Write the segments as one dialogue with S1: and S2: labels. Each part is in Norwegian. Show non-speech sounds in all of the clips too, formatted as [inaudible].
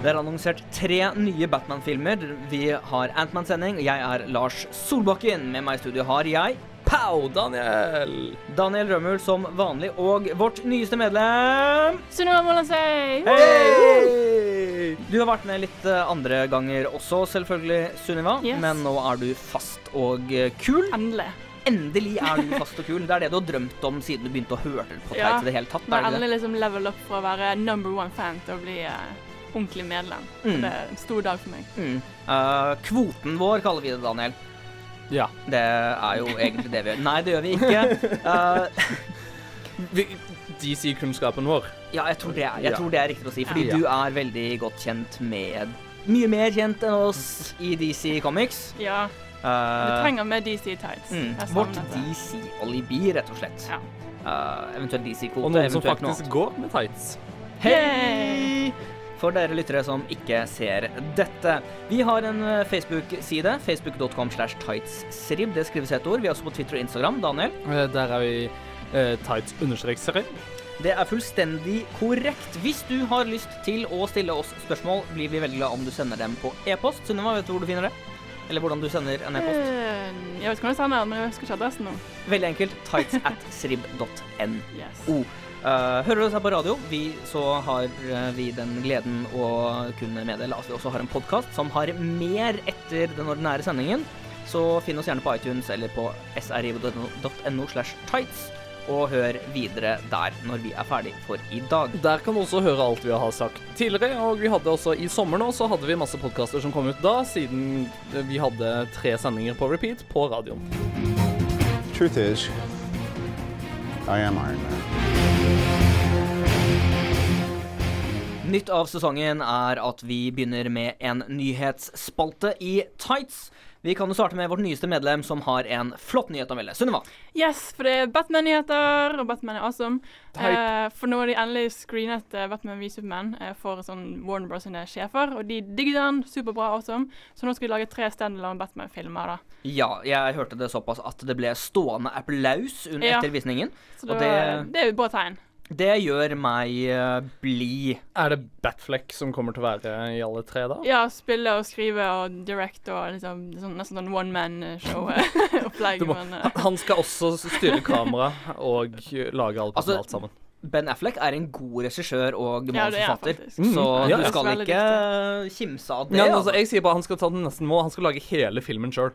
S1: Det er annonsert tre nye Batman-filmer. Vi har Antman-sending. Jeg er Lars Solbakken. Med meg i studio har jeg Pow Daniel. Daniel Rømul som vanlig, og vårt nyeste medlem
S2: Sunniva Molansei!
S1: Hei! Du har vært med litt eh, andre ganger også, selvfølgelig, Sunniva.
S2: Yes.
S1: Men nå er du fast og eh, kul.
S2: Endelig.
S1: Endelig er du fast og kul. Det er det du har drømt om siden du begynte å høre på
S2: Ja.
S1: Teit i det hele tatt.
S2: Nå
S1: er
S2: er
S1: det det?
S2: endelig liksom level up fra å være number one fan til å bli eh, ordentlig medlem.
S1: Mm.
S2: Det er en stor dag for meg.
S1: Mm. Eh, kvoten vår kaller vi det, Daniel.
S3: Ja.
S1: Det er jo egentlig det vi gjør. Nei, det gjør vi
S3: [laughs]
S1: ikke. Eh,
S3: Vi- DC-kunnskapen vår.
S1: ja, jeg tror, det er, jeg
S3: Ja.
S1: tror det er riktig å si, fordi
S3: Ja.
S1: du er veldig godt kjent med Mye mer kjent enn oss i DC Comics.
S2: Ja, du
S1: Eh,
S2: trenger mer DC Tights.
S1: Mm.
S2: Jeg savner
S1: Vårt
S2: det.
S1: DC-alibi, rett og slett.
S2: Ja.
S1: Eh, eventuelt DC-kvote.
S3: Og noen som
S1: eventuelt noe
S3: faktisk går med tights.
S1: annet. Hei! For dere lyttere som ikke ser dette. Vi har en eh, Facebook-side. Facebook.com slash tightssrib. Det skrives ett ord. Vi er også på Twitter og Instagram. Daniel?
S3: Eh, Der er vi eh, tights understrekserie.
S1: Det er fullstendig korrekt. Hvis du har lyst til å stille oss spørsmål, blir vi veldig glad om du sender dem på e-post. Sunniva, vet du hvor du finner det? Eller hvordan du sender en e-post?
S2: Eh, Jeg vet ikke om jeg sa det, men jeg husker ikke adressen nå.
S1: Veldig enkelt. Tights at srib.no.
S2: Yes.
S1: O. Eh, hører du oss her på radio, vi, så har eh, vi den gleden å kunne meddele at vi også har en podkast som har mer etter den ordinære sendingen. Så finn oss gjerne på iTunes eller på sriv.no slash tights, og hør videre der når vi er ferdig for i dag.
S3: Der kan du også høre alt vi har sagt tidligere. Og vi hadde også i sommer nå, så hadde vi masse podkaster som kom ut da, siden eh, vi hadde tre sendinger på repeat på radioen.
S4: Truth is, I am Iron Man.
S1: Nytt av sesongen er at vi begynner med en nyhetsspalte i tights. Vi kan jo starte med vårt nyeste medlem, som har en flott nyhet å melde. Sunniva.
S2: Yes, for det er Batman-nyheter, og Batman er awesome. Eh, for nå har de endelig screenet eh, Batman v Superman eh, for sånn Warner Bros. sine sjefer, og de digger den. Superbra, awesome. Så nå skal de lage tre standalone Batman-filmer, da.
S1: Ja, jeg hørte det såpass at det ble stående applaus under
S2: Ja.
S1: etter visningen.
S2: Så
S1: Og
S2: det,
S1: det-
S2: det er jo et bra tegn.
S1: Det gjør meg eh, blid.
S3: Er det Batfleck som kommer til å være i alle tre, da?
S2: Ja, spille og skrive og directe og liksom sånn, nesten sånn one [laughs] man-show-opplegg.
S3: Du må-
S2: men eh,
S3: Han skal også styre kamera og lage alt,
S1: Altså-
S3: alt sammen.
S1: Ben Affleck er en god regissør og
S2: Ja, det er han
S1: manusforfatter,
S2: faktisk.
S1: så
S3: Mm, ja,
S1: du
S3: ja.
S1: skal
S2: Veldig
S1: ikke kimse av det.
S3: Ja, men
S1: altså.
S3: altså, jeg sier bare han skal ta den nesten må. Han skal lage hele filmen sjøl.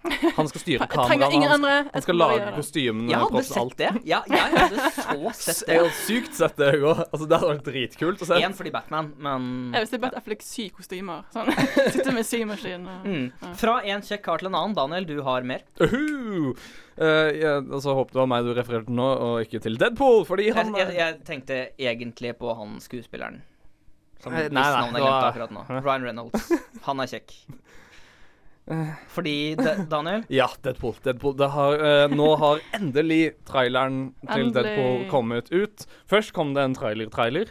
S3: Han skal styre
S2: jeg trenger
S3: kameraene.
S2: ingen
S3: Han,
S2: andre.
S3: skal- han skal lage kostymene.
S1: jeg hadde
S3: props, alt.
S1: sett det. Ja, jeg hadde så sett
S3: [laughs]
S1: det.
S3: Jeg har sykt sett det, jeg òg. Altså, det hadde vært dritkult å se.
S1: Én fordi Batman, men
S2: Jeg vil se Bat Affleck sy kostymer. Sånn. Sitte med symaskin. Og...
S1: mm. Fra en kjekk kar til en annen. Daniel, du har mer.
S3: Uhu! Eh, jeg, altså, håper det var meg du refererte til nå, og ikke til Deadpool, fordi
S1: Jeg,
S3: han eh,
S1: jeg, jeg tenkte egentlig på han skuespilleren. Som
S3: Nei,
S1: hvis
S3: nei,
S1: navnet jeg
S3: det
S1: glemte
S3: var-
S1: akkurat nå. Ryan Reynolds. Han er
S3: [laughs]
S1: kjekk. Fordi Da- Daniel
S3: Ja, Deadpool. Deadpool. Det har, eh, nå har endelig traileren til
S2: Endelig.
S3: Deadpool kommet ut. Først kom det en trailer-trailer.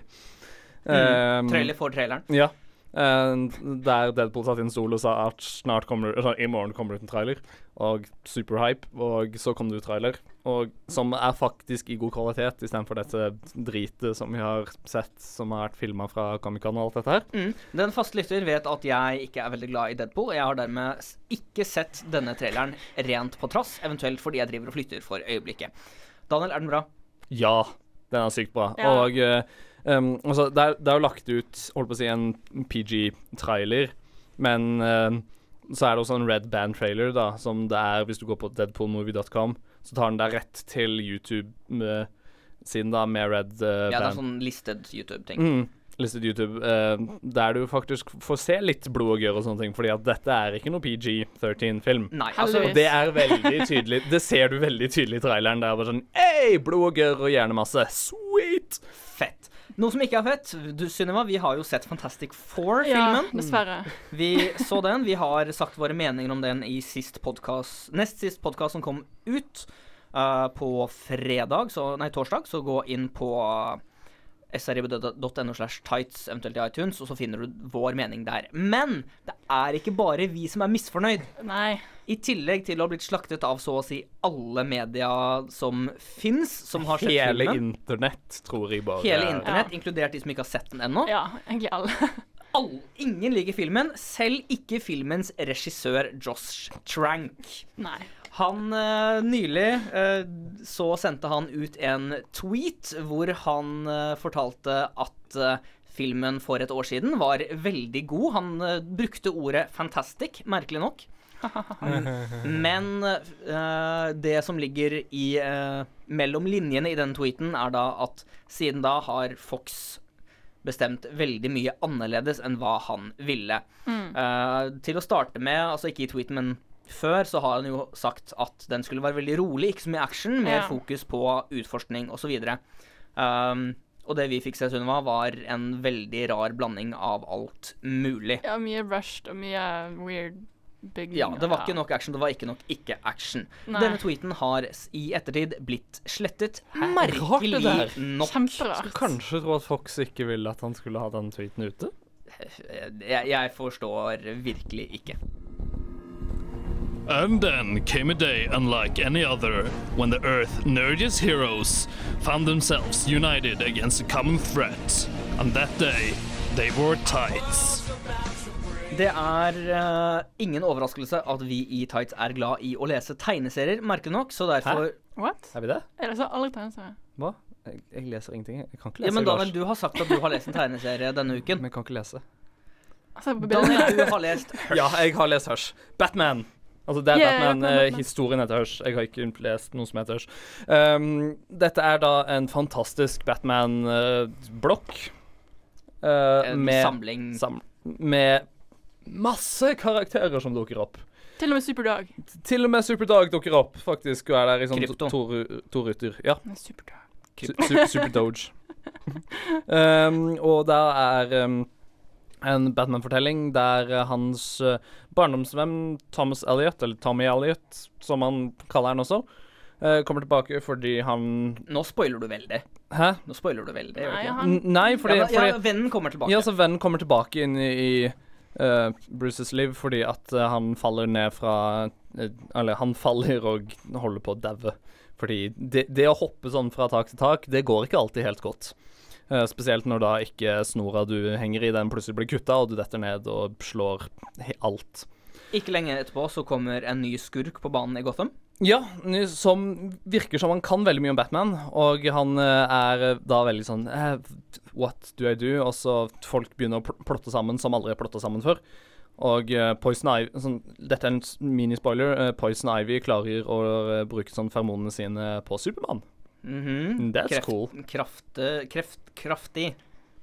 S3: Eh,
S1: Trailer for traileren.
S3: Ja. Eh, der Deadpool satte inn sol og sa at snart kommer det, altså, i morgen kommer det ut en trailer. Og superhype. Og så kom det ut trailer, og, som er faktisk i god kvalitet, istedenfor dette dritet som vi har sett, som har vært filma fra Comic-Con og alt dette her.
S1: Mm. Den faste lytter vet at jeg ikke er veldig glad i Deadpool. og Jeg har dermed s- ikke sett denne traileren rent på trass, eventuelt fordi jeg driver og flytter for øyeblikket. Daniel, er den bra?
S3: Ja, den er sykt bra.
S2: Ja.
S3: Og eh, em, altså, det, er, det er jo lagt ut holdt på å si, en PG-trailer, men eh, så er det også en Red Band-trailer, da, som det er hvis du går på deadpoolmovie.com, så tar den deg rett til YouTube-siden da, med Red eh,
S1: Ja, det er
S3: Band.
S1: sånn listed YouTube-ting.
S3: Mm, listet YouTube, eh, der du faktisk får se litt blod og gørr og sånne ting, fordi at dette er ikke noe PG-13-film.
S1: Nei, altså
S2: Heldigvis.
S3: Det er veldig tydelig. Det ser du veldig tydelig i traileren. Det er bare sånn Ei, blod og gørr og hjernemasse. Sweet! fett.
S1: Fett. Noe som ikke er fett du, Sunniva, vi har jo sett Fantastic
S2: Ja,
S1: Four-filmen.
S2: dessverre.
S1: Vi så den. Vi har sagt våre meninger om den i sist podcast, nest sist podkast som kom ut. eh, på fredag, så, nei, torsdag, så gå inn på eh, srib.no slash tights, eventuelt i iTunes, og så finner du vår mening der. Men det er ikke bare vi som er misfornøyd.
S2: Nei.
S1: I tillegg til å ha blitt slaktet av så å si alle media som fins, som har sett
S3: Hele
S1: filmen.
S3: internett, tror jeg bare.
S1: Hele
S3: er-
S1: internett, inkludert de som ikke har sett den ennå.
S2: Ja, egentlig alle. [laughs]
S1: All, ingen liker filmen, selv ikke filmens regissør Josh Trank.
S2: Nei.
S1: Han eh, nylig eh, så sendte han ut en tweet hvor han eh, fortalte at eh, filmen for et år siden var veldig god. Han eh, brukte ordet 'fantastic', merkelig nok. Men eh, det som ligger i eh, mellom linjene i den tweeten, er da at siden da har Fox bestemt veldig mye annerledes enn hva han ville. Eh, til å starte med, altså ikke i tweeten, men før, så har han jo sagt at den skulle være veldig rolig, ikke så mye action, mer
S2: Ja.
S1: fokus på utforskning osv. Um, og det vi fikk se, Sunniva, var en veldig rar blanding av alt mulig.
S2: Ja, mye rushed og mye weird bygging.
S1: Ja, det var
S2: og-
S1: ikke nok action, det var ikke nok ikke-action.
S2: Nei.
S1: Denne tweeten har s- i ettertid blitt slettet,
S3: Rart det
S1: merkelig
S3: der.
S1: nok.
S2: Kjemperart.
S3: Kanskje tro at Fox ikke ville at han skulle ha den tweeten ute?
S1: Jeg, jeg forstår virkelig ikke.
S5: And then came a day unlike any other when the Earth's nerdiest heroes found themselves united against a common threat. And that day, they wore tights.
S1: Det er eh, ingen overraskelse at vi i Tights er glad i å lese tegneserier, merkelig nok, så derfor
S2: What?
S3: Er vi det?
S2: Jeg leser aldri tegneserier.
S3: Hva? Jeg, jeg leser ingenting. Jeg kan ikke
S1: Ja,
S3: lese.
S1: men Daniel,
S3: Lars.
S1: du har sagt at du har lest en tegneserie denne uken.
S3: Men jeg kan ikke lese.
S2: Altså, på bildene.
S1: Daniel, du har lest
S3: Ja, jeg har lest Hush. Batman. Altså, det er
S2: Yeah,
S3: Batman.
S2: Batman,
S3: eh,
S2: Batman.
S3: historien heter Hush. Jeg har ikke lest noe som heter Hush. Um, dette er da en fantastisk Batman-blokk. Uh,
S1: en
S3: med,
S1: samling
S3: sam med masse karakterer som dukker opp.
S2: Til og med Superdog.
S3: Til og med Superdog dukker opp, faktisk, og er der i sånn
S1: Krypto.
S3: to, to, ru- to ruter. Ja.
S2: Nei, Superdog.
S3: Su su Superdoge. um, og det er um, en Batman-fortelling der uh, hans uh, barndomsvenn Thomas Elliot, eller Tommy Elliot, som han kaller han også, uh, kommer tilbake fordi han
S1: Nå spoiler du veldig.
S3: Hæ?
S1: Nå spoiler du veldig. gjør du
S2: Nei,
S1: ikke det?
S2: han
S3: N nei, fordi,
S1: ja, da- ja,
S3: fordi
S1: vennen kommer tilbake.
S3: Ja, så vennen kommer tilbake inn i, i eh, Bruces liv fordi at eh, han faller ned fra eh, Eller han faller og holder på å daue. Fordi det, det å hoppe sånn fra tak til tak, det går ikke alltid helt godt. Eh, spesielt når da ikke snora du henger i, den plutselig blir kutta, og du detter ned og slår he- alt.
S1: Ikke lenge etterpå så kommer en ny skurk på banen i Gotham.
S3: Ja, n- som virker som han kan veldig mye om Batman, og han eh, er eh, da veldig sånn eh, What do I do? Og så folk begynner å pl- plotte sammen som aldri er plotta sammen før. Og eh, Poison Ivy sånn, Dette er en s- minispoiler. eh, Poison Ivy klarer å eh, bruke sånn fermonene sine på Supermann.
S1: Mhm.
S3: Mm, That's cool.
S1: Krafte, kreft, kraftig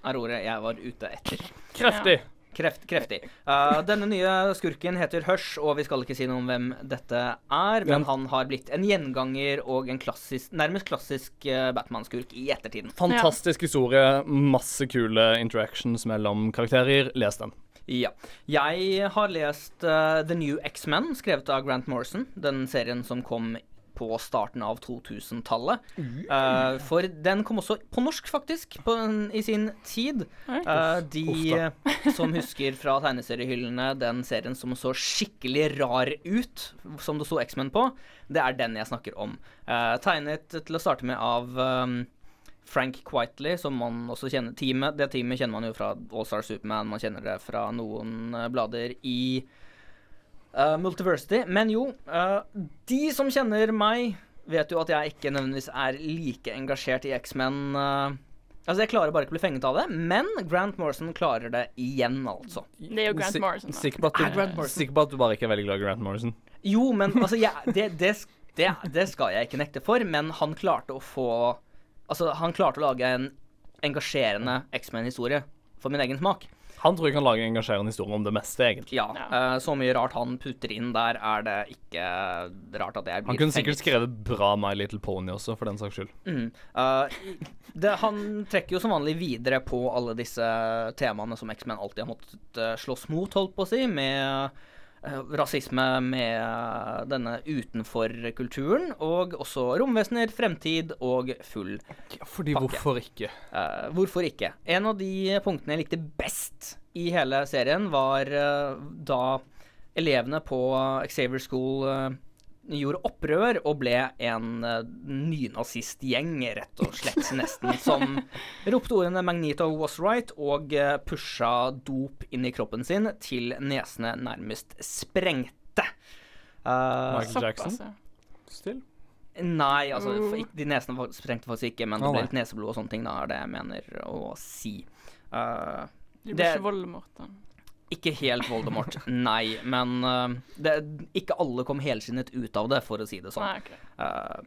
S1: er ordet jeg var ute etter.
S3: Kreftig!
S1: Kreft, kreftig. Eh, denne nye skurken heter Hush, og vi skal ikke si noe om hvem dette er, men
S3: Ja.
S1: han har blitt en gjenganger og en klassisk, nærmest klassisk eh, Batman-skurk i ettertiden.
S3: Fantastisk historie. Masse kule interactions mellom karakterer. Les den.
S1: Ja. Jeg har lest eh, The New X-Men, skrevet av Grant Morrison. Den serien som kom på starten av 2000-tallet. Eh, for den kom også på norsk, faktisk, på, en- i sin tid.
S2: Oi.
S1: Eh, de eh, [laughs] som husker fra tegneseriehyllene den serien som så skikkelig rar ut, som det sto X-Men på, det er den jeg snakker om. Eh, tegnet til å starte med av ehm, Frank Quitely, som man også kjenner teamet. Det teamet kjenner man jo fra All-Star Superman, man kjenner det fra noen eh, blader i eh, Multiversity. Men jo, eh, de som kjenner meg, vet jo at jeg ikke nødvendigvis er like engasjert i X-Men. eh. altså, jeg klarer bare ikke å bli fenget av det, men Grant Morrison klarer det igjen, altså.
S2: Det er jo Grant
S3: Si-
S2: Morrison, da.
S3: Sikker på at
S1: Er Grant
S3: du,
S1: Morrison.
S3: sikker på at du bare ikke er veldig glad i Grant Morrison.
S1: Jo, men altså, jeg, det, det, det, det skal jeg ikke nekte for, men han klarte å få Altså, han klarte å lage en engasjerende X-Men-historie for min egen smak.
S3: Han tror jeg kan lage en engasjerende historie om det meste, egentlig.
S1: Ja, eh, så mye rart han putter inn der, er det ikke rart at jeg blir
S3: Han kunne sikkert
S1: fengt.
S3: skrevet bra My Little Pony også, for den saks skyld.
S1: Mm. Eh, det, han trekker jo som vanlig videre på alle disse eh, temaene som X-Men alltid har måttet eh, slåss mot, holdt på å si, med eh, rasisme, med eh, denne utenfor-kulturen, og også romvesener, fremtid og full
S3: fordi
S1: hvorfor
S3: ikke?
S1: Eh, hvorfor ikke? En av de punktene jeg likte best i hele serien, var eh, da elevene på Xavier School eh, gjorde opprør og ble en uh, nynazistgjeng, rett og slett, nesten, som ropte ordene 'Magnito was right' og eh, pusha dop inn i kroppen sin til nesene nærmest sprengte. Eh,
S3: Michael Jackson?
S2: Såpass, ja.
S3: Still.
S1: Nei, altså
S2: Mm.
S1: for, ikke- de nesene var- sprengte faktisk ikke, men
S3: Å,
S1: det ble
S3: nei.
S1: litt neseblod og sånne ting. Da er det jeg mener å si. Eh,
S2: Du blir
S1: Det-
S2: ikke Voldemort, da.
S1: ikke helt Voldemort, [laughs] nei, men eh, det, ikke alle kom helskinnet ut av det, for å si det
S2: Nei,
S1: sånn.
S2: ok.
S1: Eh,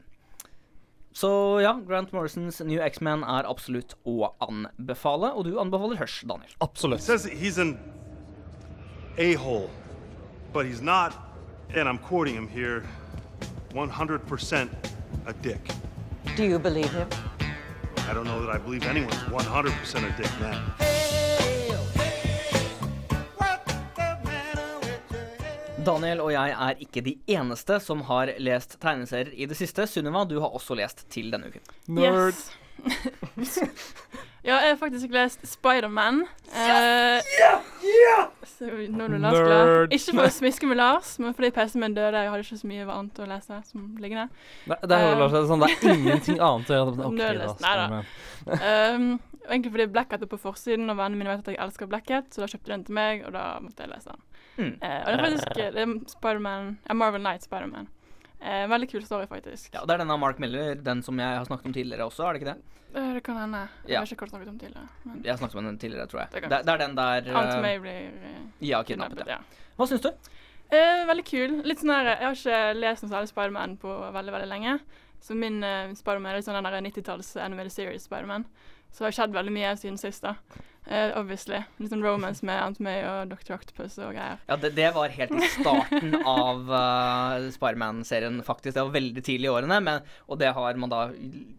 S1: så ja, Grant Morrisons New X-Men er absolutt å anbefale, og du anbefaler Hush, Daniel.
S3: Absolutt.
S6: says he's an a hole, but he's not, and I'm quoting him here, 100% a dick.
S7: Do you believe him?
S6: I don't know that I believe anyone's 100% a dick now.
S1: Daniel og jeg er ikke de eneste som har lest tegneserier i det siste. Sunniva, du har også lest til denne uken.
S3: Nerd.
S2: Yes. [laughs] ja, jeg har faktisk lest Spiderman. Uh, så Nå er du Lars glad.
S3: Nerd.
S2: Ikke for å smiske med Lars, men fordi PC-en min døde. Jeg hadde ikke så mye annet å lese som liggende.
S3: Nei, det, er,
S2: Eh.
S3: Lars, det, er sånn, det [laughs] er ingenting annet å gjøre. Ok,
S2: Nerdless.
S3: Lars,
S2: Neida.
S3: men-
S2: Um, og egentlig fordi Blackhat er på forsiden, og vennene mine vet at jeg elsker Blackhat, så da kjøpte de den til meg, og da måtte jeg lese den.
S1: Mm.
S2: Eh, og det er faktisk det er Spiderman eh, Marvel Knight Spiderman. Uh, veldig kul story, faktisk.
S1: Ja, og Det er denne av Mark Miller, den som jeg har snakket om tidligere også, er det ikke det?
S2: Eh, det kan hende.
S1: Ja.
S2: Jeg vet ikke hva du snakket om tidligere. Men
S1: Jeg har snakket om den tidligere, tror jeg.
S2: Det
S1: Det,
S2: kan
S1: det, er den der
S2: Aunt
S1: eh,
S2: May blir eh,
S1: Ja, kidnappet.
S2: kidnappet.
S1: Ja.
S2: ja.
S1: Hva syns du?
S2: Eh, veldig kul. Litt sånn her, Jeg har ikke lest noe særlig Spiderman på veldig veldig lenge. Så min eh, Spiderman er litt sånn den der 90-talls animated series Spiderman. Så det har skjedd veldig mye siden sist, da. Eh, obviously. Litt sånn romance med Aunt May og Dr. Octopus og greier.
S1: Ja, det, det var helt i
S2: [laughs]
S1: starten av uh, Spiderman-serien, faktisk. Det var veldig tidlig i årene, men, og det har man da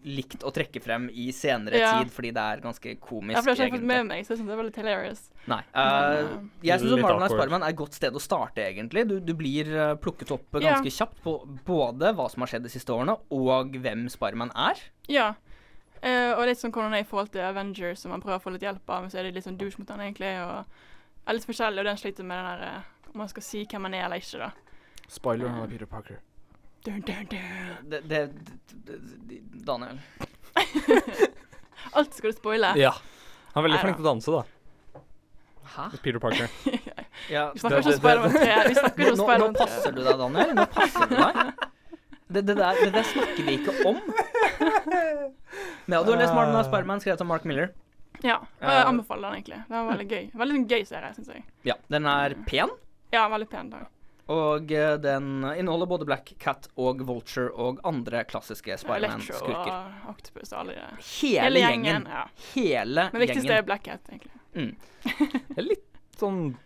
S1: likt å trekke frem i senere
S2: Ja.
S1: tid, fordi det er ganske komisk,
S2: Ja, for det har ikke jeg fått med meg, så jeg synes det er veldig hilarious.
S1: Nei. eh,
S2: Men,
S1: jeg syns
S3: Litt
S1: Marvel og
S3: awkward.
S1: Spiderman er et godt sted å starte, egentlig. Du, du blir eh, plukket opp
S2: Ja.
S1: ganske kjapt på både hva som har skjedd de siste årene, og hvem Spiderman er.
S2: Ja. Eh, og litt sånn hvordan han er i forhold til Avengers, som han prøver å få litt hjelp av, men så er de litt sånn douche mot han egentlig, og er litt forskjellig, og den sliter med den der eh, om man skal si hvem han er eller ikke, da.
S3: Spoiler, han er Peter Parker.
S2: Dun, dun, dun.
S1: Det, det, det, det Daniel.
S2: Alt skal du spoile.
S3: Ja. Han er veldig
S2: Neida.
S3: flink til å danse, da.
S1: Hæ?
S3: Peter Parker.
S1: Ja,
S2: Vi snakker ikke
S3: Det-
S2: om Spiderman 3. Vi snakker
S1: Nå,
S2: ikke
S1: nå, nå
S2: om Spiderman 3.
S1: passer du deg, Daniel. Nå passer du deg. Det, det, der, det der snakker vi ikke om. Eh, Men ja, du har lest Martin og Sparman, skrevet av Mark Miller.
S2: Ja, og jeg
S1: Eh,
S2: anbefaler den egentlig. Den var veldig gøy. Veldig sånn gøy serie, syns jeg.
S1: Ja, Den er pen,
S2: Ja, veldig pen dag.
S1: og eh, den inneholder både Black Cat og Vulture og andre klassiske
S2: Electro
S1: Sparman-skurker.
S2: og Octopus og alle de der.
S1: Hele gjengen.
S2: ja.
S1: Hele
S2: Men viktigst er
S1: gjengen.
S2: Black Hat, egentlig.
S3: Det er litt sånn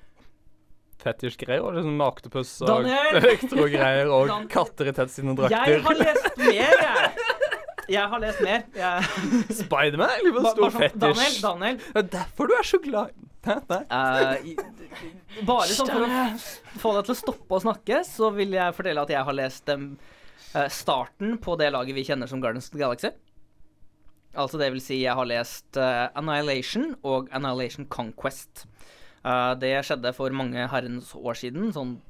S3: fetisj-greier. og Liksom med octopus og
S1: Daniel!
S3: [laughs] elektrogreier og
S1: Dan-
S3: katter i tett sine
S1: Jeg har
S3: drakter.
S1: lest mer, jeg. Jeg har lest mer. Jeg,
S3: Spiderman er jo en
S1: bare,
S3: stor
S1: bare sånn, Daniel,
S3: fetisj.
S1: Daniel.
S3: Det er derfor du er så glad. Hæ? Nei.
S1: Eh, i- bare sånn for å få deg til å stoppe å snakke, så vil jeg fortelle at jeg har lest em, eh, starten på det laget vi kjenner som Guardians of the Galaxy. Altså det vil si jeg har lest eh, Annihilation og Annihilation Conquest. Eh, det skjedde for mange herrens år siden, sånn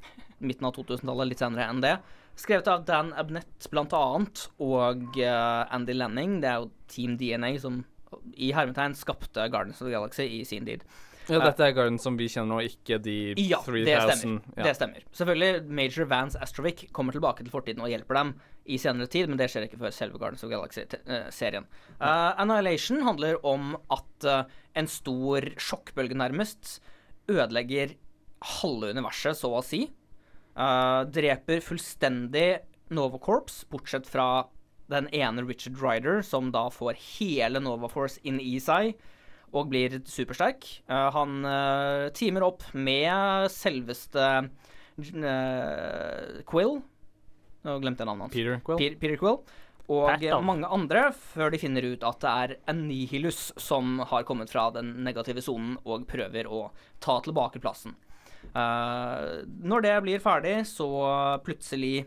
S1: midten av 2000-tallet, litt senere enn det. Skrevet av Dan Abnett blant annet, og eh, Andy Lenning. Det er jo Team DNA som i hermetegn skapte Guardians of the Galaxy i sin tid.
S3: Ja, dette er Garden som vi kjenner nå, ikke de
S1: Eh, Ja, det
S3: 3000.
S1: stemmer. det stemmer. Selvfølgelig, Major Vance Astrovic kommer tilbake til fortiden og hjelper dem i senere tid, men det skjer ikke før selve Guardians of Galaxy-serien. eh, Annihilation handler om at eh, en stor sjokkbølge nærmest ødelegger halve universet, så å si. Eh, dreper fullstendig Nova Corps, bortsett fra den ene Richard Ryder, som da får hele Nova Force inn i seg og blir supersterk. Eh, han eh, teamer opp med selveste eh, Quill Nå glemte jeg navnet hans.
S3: Peter Quill.
S1: Peter, Peter Quill. Og
S8: Pat, da.
S1: mange andre, før de finner ut at det er Anihilus som har kommet fra den negative sonen og prøver å ta tilbake plassen. Eh, når det blir ferdig, så plutselig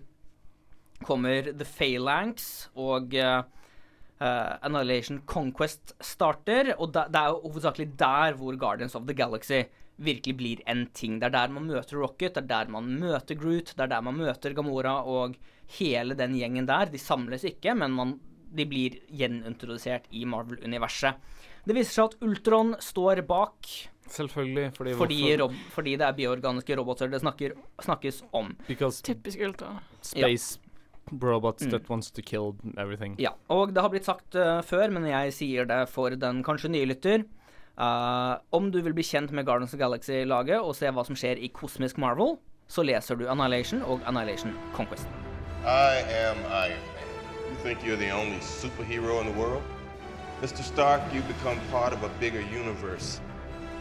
S1: kommer The Phalanx og eh, eh, Annihilation Conquest starter, og da, det er jo hovedsakelig der hvor Guardians of the Galaxy virkelig blir en ting. Det er der man møter Rocket, det er der man møter Groot, det er der man møter Gamora og hele den gjengen der. De samles ikke, men man, de blir gjenintrodusert i Marvel-universet. Det viser seg at Ultron står bak
S3: Selvfølgelig, fordi
S1: fordi,
S3: hvorfor-
S1: rob fordi det er bioorganiske roboter det snakker, snakkes om.
S3: Because
S2: Typisk Ultron.
S3: space robots that wants to kill everything.
S1: Mm. Ja, og det har blitt sagt eh, før, men jeg sier det for den kanskje nye lytter. Eh, om du vil bli kjent med Guardians of the Galaxy-laget og se hva som skjer i kosmisk Marvel, så leser du Annihilation og Annihilation Conquest.
S9: I am Iron Man. You think you're the only superhero in the world? Mr. Stark, you become part of a bigger universe.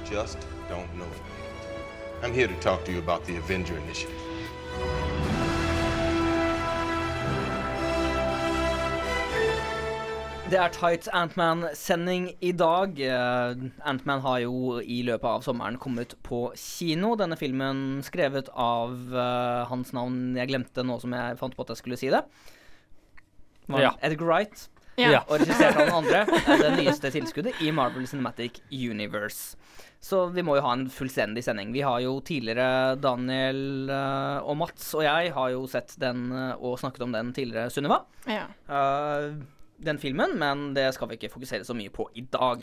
S9: Just don't know it. I'm here to talk to you about the Avenger Initiative.
S1: Det er Tights Antman-sending i dag. Uh, Antman har jo i løpet av sommeren kommet på kino. Denne filmen skrevet av eh, hans navn jeg glemte nå som jeg fant på at jeg skulle si det. Var
S3: Ja.
S1: det Edgar Wright.
S2: Ja.
S3: Ja.
S1: og regissert av den andre, er det nyeste tilskuddet i Marvel Cinematic Universe. Så vi må jo ha en fullstendig sending. Vi har jo tidligere Daniel eh, og Mats og jeg har jo sett den eh, og snakket om den tidligere, Sunniva.
S2: ja.
S1: Eh, den filmen, men det skal vi ikke fokusere så mye på i dag.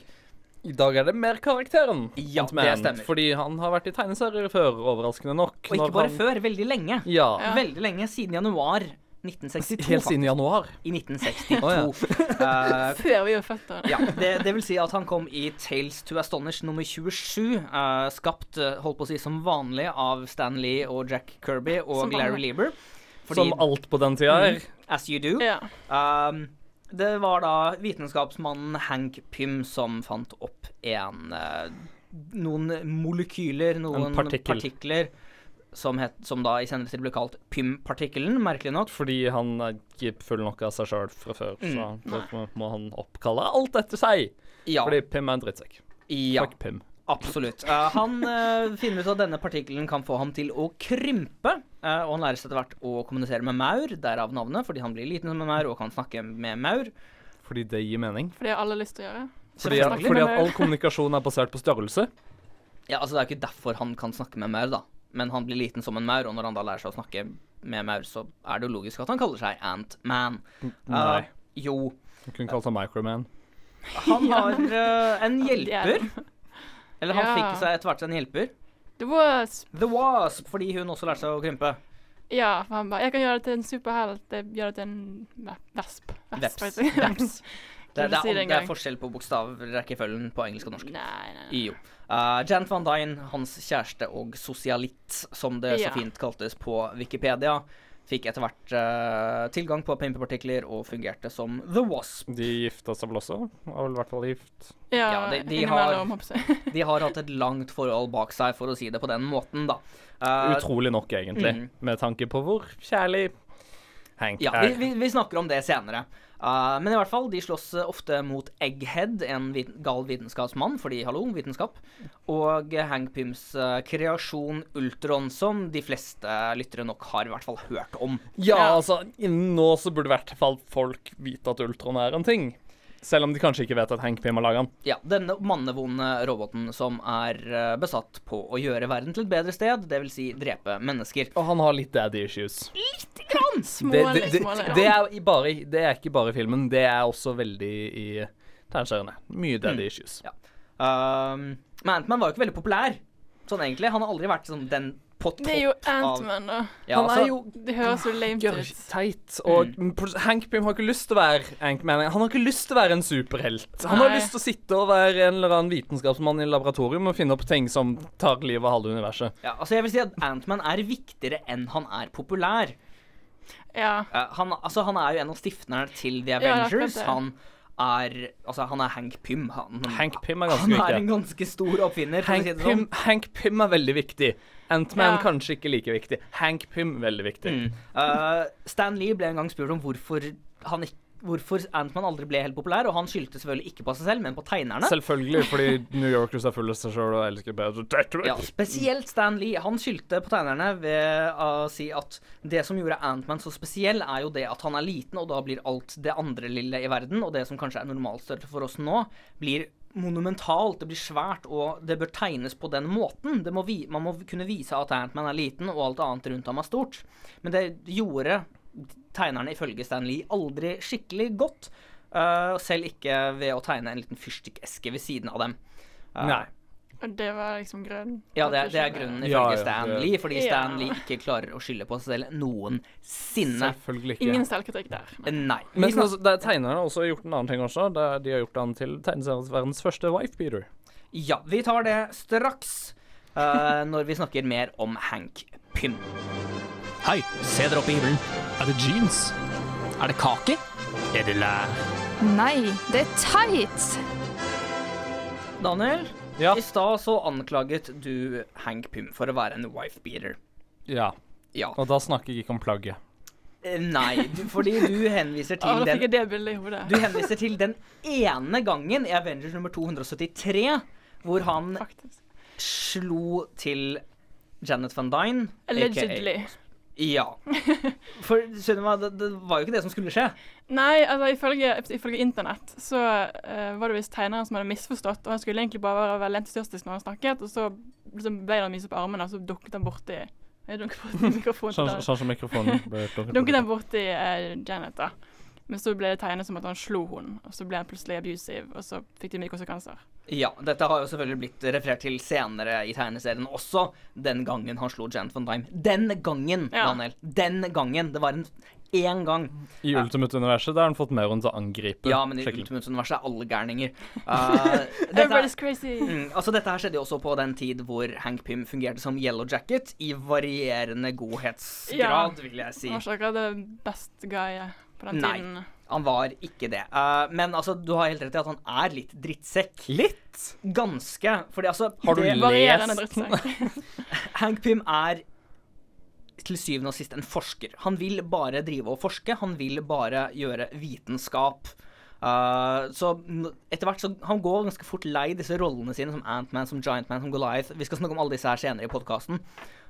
S3: I dag er det mer karakteren.
S1: Ja,
S3: Ant-Man,
S1: det stemmer.
S3: Fordi han har vært i tegneserier før, overraskende nok.
S1: Og
S3: når
S1: ikke bare
S3: han...
S1: før, veldig lenge.
S3: Ja.
S1: Veldig lenge, siden januar 1962,
S3: Helt siden januar.
S1: faktisk. I 1962. Eh,
S2: Før vi var født. da.
S1: Ja, det, det vil si at han kom i Tales to Astonish nummer 27, eh, skapt, eh, holdt på å si, som vanlig av Stan Lee og Jack Kirby
S2: Som
S1: og
S2: vanlig.
S1: Larry Lieber. Fordi, Mm.
S3: Som alt på den tida er.
S1: as you do.
S2: Ja.
S1: Um, det var da vitenskapsmannen Hank Pym som fant opp en eh, Noen molekyler, noen
S3: En partikkel.
S1: partikler, som, het, som da i senere tid ble kalt Pym-partikkelen, merkelig nok.
S3: Fordi han er ikke full nok av seg sjøl fra før,
S1: Mm.
S3: så derfor må han oppkalle alt etter seg.
S1: Ja.
S3: Fordi Pim er en drittsekk.
S1: ja.
S3: Fuck Pim.
S1: Absolutt. Eh, han eh, finner ut at denne partikkelen kan få ham til å krympe, eh, og han lærer seg etter hvert å kommunisere med maur, derav navnet, fordi han blir liten som en maur og kan snakke med maur.
S3: Fordi det gir mening.
S2: For det har alle lyst til å gjøre.
S3: Fordi,
S2: Snakke med
S3: fordi at
S2: maur.
S3: all kommunikasjon er basert på størrelse.
S1: Ja, altså Det er jo ikke derfor han kan snakke med maur, da, men han blir liten som en maur, og når han da lærer seg å snakke med maur, så er det jo logisk at han kaller seg Ant-Man. Eh,
S3: Nei.
S1: jo.
S3: Han kunne kalt seg Microman.
S1: Han har eh, en hjelper. Eller han
S2: Ja.
S1: fikk seg etter hvert en hjelper.
S2: Det var s-
S1: The Wasp, fordi hun også lærte seg å krympe.
S2: Ja, for han bare 'Jeg kan gjøre det til en superhelt. Jeg gjør det til en ve- vesp.'
S1: Veps.
S2: faktisk.
S1: Veps.
S2: [laughs]
S1: Det,
S2: Kunne
S1: det,
S2: si
S1: er,
S2: det en
S1: det er
S2: gang.
S1: forskjell på bokstavrekkefølgen på engelsk og norsk.
S2: Nei, nei, nei.
S1: Jo. Eh, Jant van Dyne, hans kjæreste og sosialitt, som det
S2: Ja.
S1: så fint kaltes på Wikipedia, fikk etter hvert eh, tilgang på pimpepartikler og fungerte som The Wasp.
S3: De gifta seg vel også? Var vel i hvert fall gift.
S2: Ja,
S1: Ja, de- de har-
S2: innimellom, håper jeg.
S1: De har hatt et langt forhold bak seg, for å si det på den måten, da. Eh,
S3: Utrolig nok, egentlig.
S1: Mm.
S3: Med tanke på hvor kjærlig Hank
S1: Ja, vi,
S3: er.
S1: vi, vi snakker om det senere. Eh, men i hvert fall, de slåss eh, ofte mot Egghead, en vit gal vitenskapsmann, fordi hallo, vitenskap, og eh, Hank Pyms eh, kreasjon Ultron, som de fleste lyttere nok har i hvert fall hørt om.
S3: Ja, altså, innen nå så burde i hvert fall folk vite at Ultron er en ting. Selv om de kanskje ikke vet at Hank Pym har laga den.
S1: Ja, denne mannevonde roboten som er eh, besatt på å gjøre verden til et bedre sted, dvs. Si drepe mennesker.
S3: Og han har litt daddy issues.
S2: [laughs]
S3: Det,
S2: Smålig,
S3: det, det,
S2: smålig.
S3: det, er i bare, det er ikke bare i filmen, det er også veldig i tegneseriene. Mye daddy issues.
S1: Ja. Um, men Ant-Man var jo ikke veldig populær, sånn egentlig. Han har aldri vært sånn den på topp
S2: Det er jo
S1: av-
S2: Ant-Man, da.
S1: Ja,
S3: han
S1: altså,
S3: er jo
S2: Det høres jo lamet ut.
S3: teit. Og
S1: Mm.
S3: pro- Hank Pym har ikke lyst til å være Hank-man. Han har ikke lyst til å være en superhelt. Han har
S2: Nei.
S3: lyst til å sitte og være en eller annen vitenskapsmann i laboratorium og finne opp ting som tar livet av halve universet.
S1: ja, altså, jeg vil si at Ant-Man er viktigere enn han er populær.
S2: Ja.
S1: Eh, han, altså, han er jo en av stifterne til The
S2: det er akkurat
S1: Avengers.
S2: det.
S1: han er Altså, han er Hank Pym, han.
S3: Hank Pym er ganske
S1: Han er
S3: viktig.
S1: en ganske stor oppfinner. for å
S3: Hank
S1: si det
S3: Pym,
S1: sånn.
S3: Hank Pym er veldig viktig. Ant-Man
S2: Ja.
S3: kanskje ikke like viktig. Hank Pym veldig viktig.
S1: Eh, Stan Lee ble en gang spurt om hvorfor han ikke Hvorfor Ant-Man aldri ble helt populær, og han skyldte selvfølgelig ikke på seg selv, men på tegnerne.
S3: Selvfølgelig, fordi New Yorkers er fulle av seg sjøl og elsker bedre Detroit.
S1: Ja, spesielt Stan Lee. Han skyldte på tegnerne ved å si at det som gjorde Ant-Man så spesiell, er jo det at han er liten, og da blir alt det andre lille i verden, og det som kanskje er normalstørrelse for oss nå, blir monumentalt, det blir svært, og det bør tegnes på den måten. Det må vi, man må kunne vise at Ant-Man er liten, og alt annet rundt ham er stort. Men det gjorde tegnerne ifølge Stan Lee aldri skikkelig godt. øh, selv ikke ved å tegne en liten fyrstikkeske ved siden av dem. Øh,
S3: Nei.
S2: Og det var liksom grunnen.
S1: ja,
S2: At
S1: det er, det er
S2: skjedde.
S1: grunnen
S3: Ja,
S1: ifølge
S3: ja,
S1: Stan
S3: det-
S1: Lee, fordi
S2: Ja.
S1: Stan Lee ikke klarer å skylde på seg selv noensinne. Eh,
S3: Selvfølgelig ikke.
S2: Ingen selvkritikk der.
S1: Nei.
S3: Men
S1: Vi snak-
S3: altså, det er tegnerne har også gjort en annen ting også. Det er, de har gjort han til tegneseriens første wife-beater.
S1: ja, vi tar det straks eh, når vi snakker mer om Hank Pym.
S8: Hei, se dere opp i himmelen.
S5: Er det jeans?
S8: Er det kake? Er det lær?
S10: Nei, det er tights!
S1: Daniel,
S3: Ja.
S1: i stad så anklaget du Hank Pym for å være en wife-beater.
S3: Ja.
S1: Ja.
S3: Og da snakker jeg ikke om plagget.
S1: Eh, Nei, du, fordi du
S2: [laughs]
S1: henviser
S2: Å,
S1: til
S2: da fikk
S1: den
S2: jeg det bildet i hodet.
S1: Du henviser til den ene gangen i Avengers nummer 273 hvor han
S2: Faktisk.
S1: slo til Janet Van Dyne. aka
S2: Allegedly.
S1: Ja. [laughs] For Sunniva, det, det var jo ikke det som skulle skje.
S2: Nei, altså ifølge, ifølge internett så eh, var det visst tegneren som hadde misforstått, og han skulle egentlig bare være veldig entusiastisk når han snakket, og så liksom, ble han myset på armene, og så dukket han borti Jeg dunket borti [laughs] mikrofonen. til
S3: Sånn,
S2: Daniel.
S3: sånn som mikrofonen ble
S2: Dunket han borti eh, Janet, da. Men så ble det tegnet som at han slo henne, og så ble han plutselig abusive, og så fikk de mye konsekvenser.
S1: Ja, dette har jo selvfølgelig blitt referert til senere i tegneserien også. Den gangen han slo Janet Van Dyne. Den gangen,
S2: Ja.
S1: Daniel. Den gangen. Det var en én gang.
S3: I Ultimate-universet der har han fått mer enn til å angripe.
S1: Ja, men i
S3: skikkelig.
S1: Ultimate-universet er alle gærninger. [laughs] Eh, dette,
S2: Everybody's crazy!
S1: mm, altså, dette her skjedde jo også på den tid hvor Hank Pym fungerte som Yellow Jacket i varierende godhetsgrad, vil jeg si.
S2: Han var ikke akkurat det best guy eh, på den
S1: Nei.
S2: tiden.
S1: Han var ikke det. Eh, men altså, du har helt rett i at han er litt drittsekk. Litt? Ganske. Fordi altså
S3: Har du
S1: det,
S3: lest-
S2: Varierende
S1: [laughs]
S2: drittsekk.
S1: Hank Pym er til syvende og sist en forsker. Han vil bare drive og forske. Han vil bare gjøre vitenskap. Eh, så n- etter hvert så Han går ganske fort lei disse rollene sine som Ant-Man, som Giant-Man, som Goliath. Vi skal snakke om alle disse her senere i podkasten.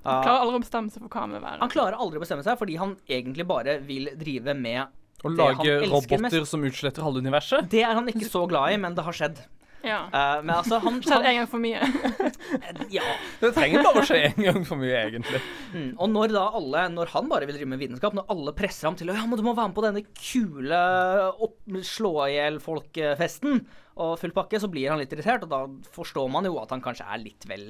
S2: Klarer aldri å bestemme seg for hva han vil være.
S1: han klarer aldri å bestemme seg, fordi han egentlig bare vil drive med
S3: Å
S1: det han
S3: lage
S1: elsker mest.
S3: roboter som utsletter halve universet.
S1: Det er han ikke så glad i, men det har skjedd.
S2: Ja.
S1: Eh, men altså, han,
S2: [laughs]
S1: han
S2: Skjedd en gang for mye.
S1: Ja.
S3: Det trenger bare å skje én gang for mye, egentlig.
S1: Mm. Og når da alle, når han bare vil drive med vitenskap, når alle presser ham til å ja, men du må være med på denne kule opp, slå i hjel folk-festen og full pakke, så blir han litt irritert, og da forstår man jo at han kanskje er litt vel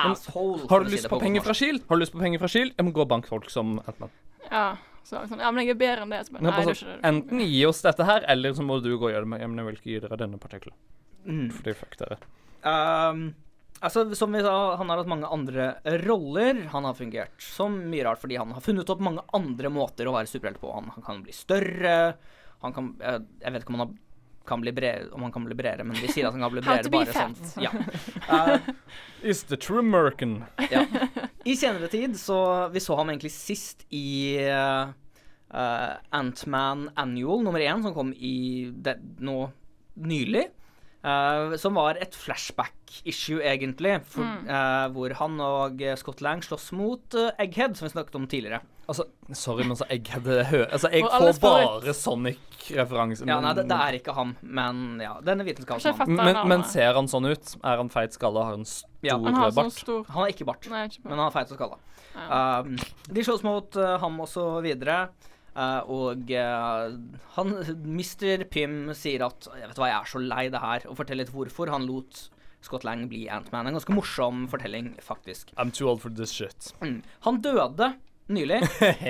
S1: asshole. for
S3: Har
S1: å
S3: du
S1: si
S3: lyst
S1: det
S3: på
S1: god
S3: penger
S1: norsk.
S3: fra Shield? Har du lyst på penger fra Shield? Jeg må gå og banke folk som Ant-Man.
S2: Ja. Så, sånn, ja, men jeg er bedre enn det. Så, bare,
S3: Men
S2: nei, du
S3: bare
S2: er
S3: sånn,
S2: ikke det.
S3: Enten gi oss dette her, eller så må du gå og gjøre det. Men jeg vil ikke gi dere denne partikkelen.
S1: Mm.
S3: Fordi fuck dere.
S1: Ehm, altså, som vi sa, han har hatt mange andre roller. Han har fungert som mye rart fordi han har funnet opp mange andre måter å være superhelt på. Han, han kan bli større, han kan eh, Jeg vet ikke om han har, kan bli bredere, om han kan bli bredere, men vi sier at han kan bli
S2: How
S1: bredere
S2: to be
S1: bare
S2: fat.
S1: sånn. Ja. Eh,
S3: Is the true Merkin.
S1: ja. [laughs] I senere tid så Vi så ham egentlig sist i eh, eh, Ant-Man Annual nummer én, som kom i det, nå nylig. eh, som var et flashback-issue, egentlig. For,
S2: Mm.
S1: eh, hvor han og eh, Scott Lang slåss mot eh, Egghead, som vi snakket om tidligere.
S3: Altså, sorry, men så jeg hadde hø Altså, jeg
S2: Og
S3: får
S2: alles favoritt.
S3: bare Sonic-referanse.
S1: Ja,
S3: men-
S1: nei, det, det er ikke ham, men ja, denne
S2: Kanskje jeg
S1: vitenskapsmannen.
S2: fatter
S3: men,
S2: navnet.
S3: men ser han sånn ut? Er han feit skalla? Har han stor
S1: Ja,
S2: Han har
S3: rød
S2: sånn
S3: bart?
S2: stor
S1: Han har ikke bart.
S2: Nei, jeg er ikke på.
S1: Men han er feit og skalla. Um, de slåss mot uh, ham og så videre. Uh, og uh, han, Mr. Pym sier at Jeg vet hva, jeg er så lei det her, og forteller litt hvorfor han lot Scott Lang bli Ant-Man. En ganske morsom fortelling, faktisk.
S3: I'm too old for this shit.
S1: Mm. Han døde nylig,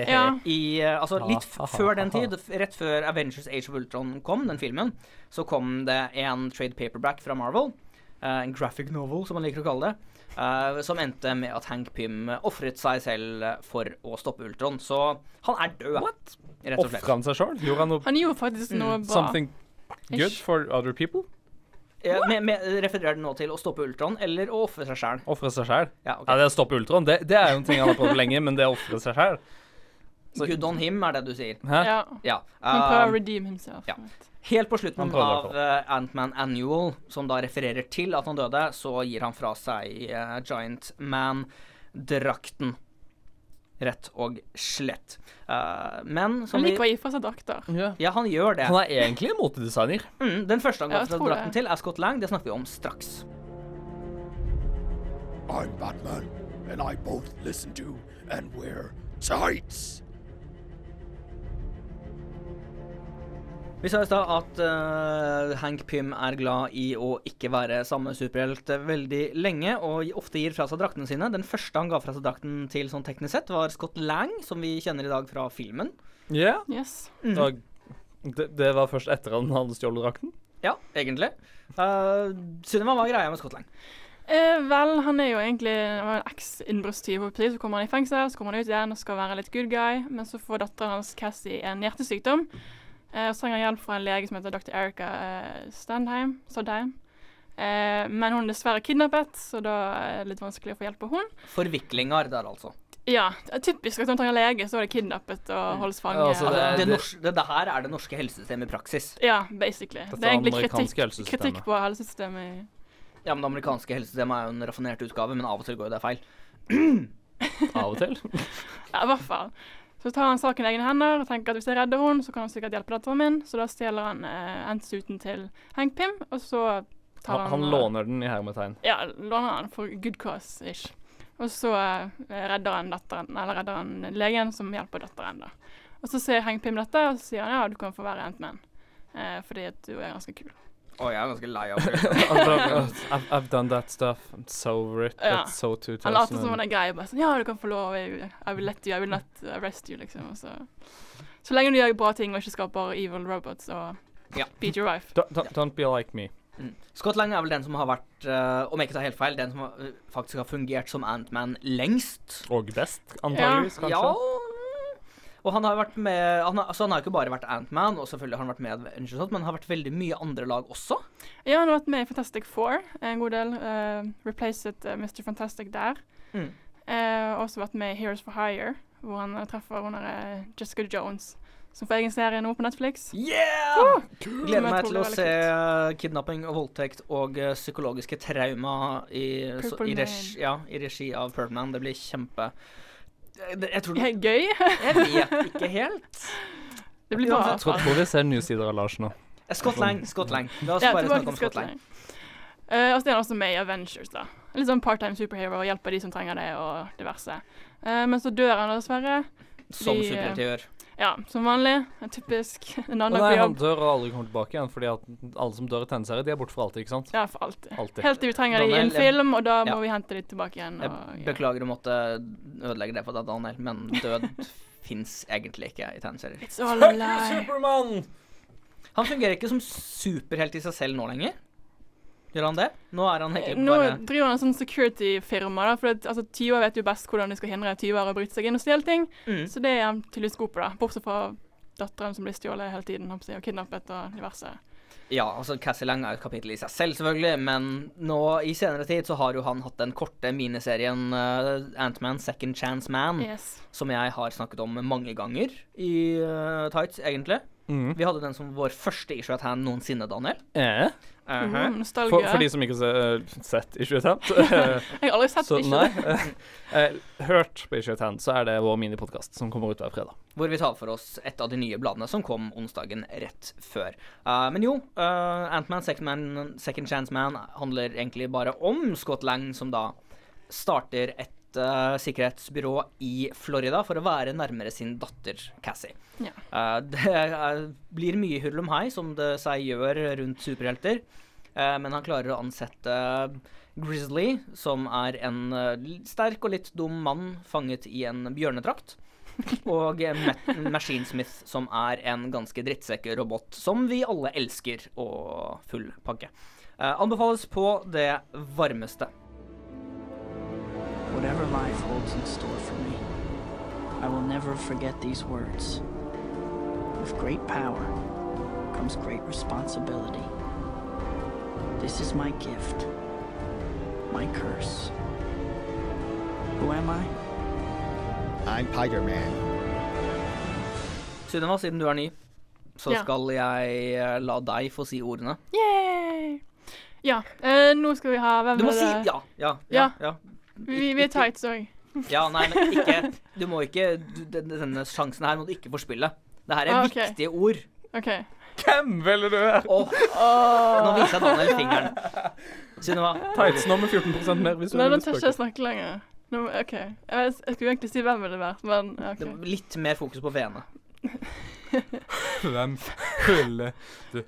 S2: Ja.
S1: i, uh, altså litt f
S3: Ah, ah,
S1: før den
S3: ah, ah.
S1: tid, f- rett før Avengers Age of Ultron kom, den filmen, så kom det en trade paperback fra Marvel, uh, en graphic novel, som man liker å kalle det, Eh, som endte med at Hank Pym ofret seg selv for å stoppe Ultron. Så han er død, rett og slett.
S3: Ofra han seg sjøl? Gjorde han noe
S1: Mm.
S2: Han gjorde faktisk noe bra.
S3: something Good for other people?
S1: Eh, med, med, refererer det nå til å stoppe Ultron eller å ofre seg sjæl?
S3: Ofre seg sjæl?
S1: Ja, ok.
S3: Ja, det å stoppe Ultron, det, det er jo en ting han har prøvd lenge, men det å ofre seg sjæl så-
S1: Good on him, er det du sier.
S3: Hæ?
S2: Ja.
S1: Ja.
S2: Han prøver å
S1: eh,
S2: redeem himself.
S1: ja. Helt på
S3: Han
S1: slutten
S3: prøvde i hvert
S1: av eh, Ant-Man Annual, som da refererer til at han døde, så gir han fra seg eh, Giant Man-drakten. Rett og slett. Eh, men som
S2: Han liker
S1: vi
S2: å gi fra seg drakter.
S1: Ja, han gjør det.
S3: Han er egentlig en motedesigner.
S1: Mm, den første han
S2: Ja,
S1: går
S2: jeg
S1: fra
S2: tror det.
S1: drakten til, er Scott Lang. Det snakker vi om straks.
S11: I'm Batman, and I both listen to and wear tights.
S1: Vi sa i stad at eh, Hank Pym er glad i å ikke være samme superhelt veldig lenge, og ofte gir fra seg draktene sine. Den første han ga fra seg drakten til sånn teknisk sett, var Scott Lang, som vi kjenner i dag fra filmen.
S3: Ja.
S2: Yes.
S1: Mm.
S3: Og det, det var først etter at han hadde stjålet drakten.
S1: Ja, egentlig. Uh, Sunniva, hva er greia med Scott Lang?
S2: Eh, vel, han er jo egentlig han var en eks-innbruddstyv. holdt jeg på å si. Så kommer han i fengsel, så kommer han ut igjen og skal være litt good guy. Men så får datteren hans Cassie en hjertesykdom. Eh, og så trenger han hjelp fra en lege som heter dr. Erica eh, Standheim. Sodheim. Eh, men hun er dessverre kidnappet, så da er det litt vanskelig å få hjelp på hun.
S1: Forviklinger der, altså.
S2: Ja, det er typisk at hun trenger lege, så er det kidnappet og holdes fanget.
S3: Altså,
S1: det,
S3: det-
S1: det,
S3: det-
S1: norske, det, det her er det norske helsesystemet i praksis.
S2: Ja, basically.
S3: Dette
S2: Det er egentlig
S3: amerikanske
S2: kritikk,
S3: helsesystemet.
S2: kritikk på helsesystemet. i-
S1: Ja, men Det amerikanske helsesystemet er jo en raffinert utgave, men av og til går jo det feil.
S3: Av og
S1: [laughs]
S3: til.
S2: Ja, i hvert fall. Så tar han saken i egne hender og tenker at hvis jeg redder henne, så kan han sikkert hjelpe datteren min. Så da stjeler han eh, hentesuten til Hank Pym, og så tar han
S3: Han,
S2: eh,
S1: eh,
S3: han låner den i hermetegn.
S2: Ja, låner han for good cause-ish. Og så eh, redder han datteren, eller redder han legen som hjelper datteren, da. Og så ser Hank Pym dette, og så sier han ja, du kan få være Ant-Man. Eh, fordi at du er ganske kul.
S1: Å, jeg er ganske lei av [laughs] det.
S3: I've, I've done that stuff. I'm so over it.
S2: Ja.
S3: That's so 2000.
S2: Han later som han er grei og bare sånn Ja, du kan få lov. Jeg, I will let you. I will not arrest you, liksom. Og så, så lenge du gjør bra ting og ikke skaper evil robots og
S1: Ja.
S2: beat your wife.
S3: Don't, don't, don't be like me.
S1: Scott Lang er vel den som har vært, eh, om jeg ikke tar helt feil, den som har, eh, faktisk har fungert som Ant-Man lengst.
S3: Og best, antageligvis, kanskje.
S1: Ja. Og han har vært med han har, altså han har ikke bare vært Ant-Man, og selvfølgelig har han vært med i Avengers, og sånt, men han har vært veldig mye andre lag også.
S2: Ja, han har vært med i Fantastic Four en god del. eh, replaced eh, Mr. Fantastic der.
S1: Mm.
S2: Eh, også vært med i Heroes for Hire, hvor han eh, treffer hun der, eh, Jessica Jones, som får egen serie nå på Netflix.
S1: Yeah!
S2: Som
S1: Gleder
S2: jeg
S1: meg
S2: tror
S1: til å
S2: blir veldig
S1: se kidnapping og voldtekt og eh, psykologiske trauma i, så,
S2: Purple
S1: i, regi, ja, i regi av Purple Man. Det blir kjempe Jeg, jeg tror
S2: kult. Gøy.
S1: Jeg
S2: [laughs]
S1: vet ikke helt.
S2: det blir bra. i
S1: Uansett,
S2: hvert
S3: Tror,
S2: fall.
S3: tror vi ser nye sider av Lars nå.
S1: Scott Lang, Scott Lang. Eh, La oss
S2: Ja,
S1: bare snakke
S2: tilbake til
S1: om Scott Lang.
S2: Skottland. Eh, og så er han også med i Avengers, da. Litt sånn part-time superhero, hjelper de som trenger det, og diverse. Eh, men så dør han dessverre.
S1: Som
S2: Vi, eh,
S1: superhelter gjør.
S2: Ja, som vanlig. En Typisk. En
S3: Å
S2: annen
S3: Nei,
S2: på
S3: han
S2: jobb.
S3: dør og aldri kommer tilbake igjen, fordi at alle som dør i tegneserier, de er borte for alltid, ikke sant?
S2: Ja, for alltid.
S3: Alltid.
S2: Helt til vi trenger det i
S1: Daniel,
S2: en film, og da må
S1: ja.
S2: vi hente det tilbake igjen. Og,
S1: Jeg
S2: ja.
S1: beklager å måtte ødelegge det for deg, Daniel, men død [laughs] fins egentlig ikke i tegneserier.
S2: It's all
S1: [laughs]
S2: a lie.
S3: Supermann!
S1: Han fungerer ikke som superhelt i seg selv nå lenger. Gjør han det? Nå er han egentlig
S2: Eh, Nå
S1: bare
S2: driver han en sånn security-firma, da, for at, altså, tyver vet jo best hvordan de skal hindre tyver å bryte seg inn og stjele ting,
S1: mm.
S2: så det er han tydeligvis god på, da. Bortsett fra datteren som blir stjålet hele tiden, holdt på å si, og kidnappet og diverse.
S1: Ja, altså Cassie Lang er jo et kapittel i seg selv, selvfølgelig, men nå i senere tid så har jo han hatt den korte miniserien eh, Ant-Man Second Chance Man,
S2: Yes.
S1: som jeg har snakket om mange ganger i eh, Tights, egentlig.
S3: Mhm.
S1: Vi hadde den som vår første issue at hand noensinne, Daniel.
S3: Eh,
S2: Mm, nostalgia.
S3: for, for de som ikke har sett
S2: [laughs]
S3: Issue at Hand, eh,
S2: Jeg har aldri sett
S3: så
S2: det, ikke
S3: nei.
S2: det.
S3: eh, hørt på Issue at Hand, så er det vår minipodkast som kommer ut hver fredag.
S1: Hvor vi tar for oss et av de nye bladene som kom onsdagen rett før. Eh, men jo, eh, Ant-Man Second, Man- Second Chance Man handler egentlig bare om Scott Lang, som da starter et eh, sikkerhetsbyrå i Florida for å være nærmere sin datter Cassie.
S2: Ja.
S1: Eh, [laughs] det eh, blir mye hurlum hei, som det seg gjør rundt superhelter, eh, men han klarer å ansette eh, Grizzly, som er en eh, sterk og litt dum mann fanget i en
S2: [laughs]
S1: bjørnedrakt. Og eh, Ma- Machine Smith, som er en ganske drittsekkerobot som vi alle elsker, og full pakke. Eh, anbefales på det varmeste.
S7: Whatever life holds in store for me, I will never forget these words. With great power comes great responsibility. This is my gift, my curse. Who am I?
S12: I'm Tiger Man.
S1: Sunniva, siden du er ny, så
S2: Ja.
S1: skal jeg eh, la deg få si ordene.
S2: Yay! Ja, eh, nå skal vi ha Hvem
S1: Du må
S2: er
S1: si
S2: det?
S1: ja. Ja. ja,
S2: Ja.
S1: ja.
S2: Vi, vi er tights òg.
S1: Ja, nei, men ikke Du må ikke du, den- Denne sjansen her må du ikke forspille. Det her er
S2: Ah, ok.
S1: viktige ord.
S2: OK.
S3: Hvem velger du her?
S1: Nå viser jeg Daniel fingeren. Sunniva.
S3: Tightsene med 14 mer hvis du
S2: Nei, nå
S3: vil
S2: tør ikke jeg snakke lenger. Nå, OK. Jeg, vet- jeg skulle egentlig si hvem ville det vært, men OK.
S1: Det- Litt mer fokus på V-ene.
S3: Hvem følger du?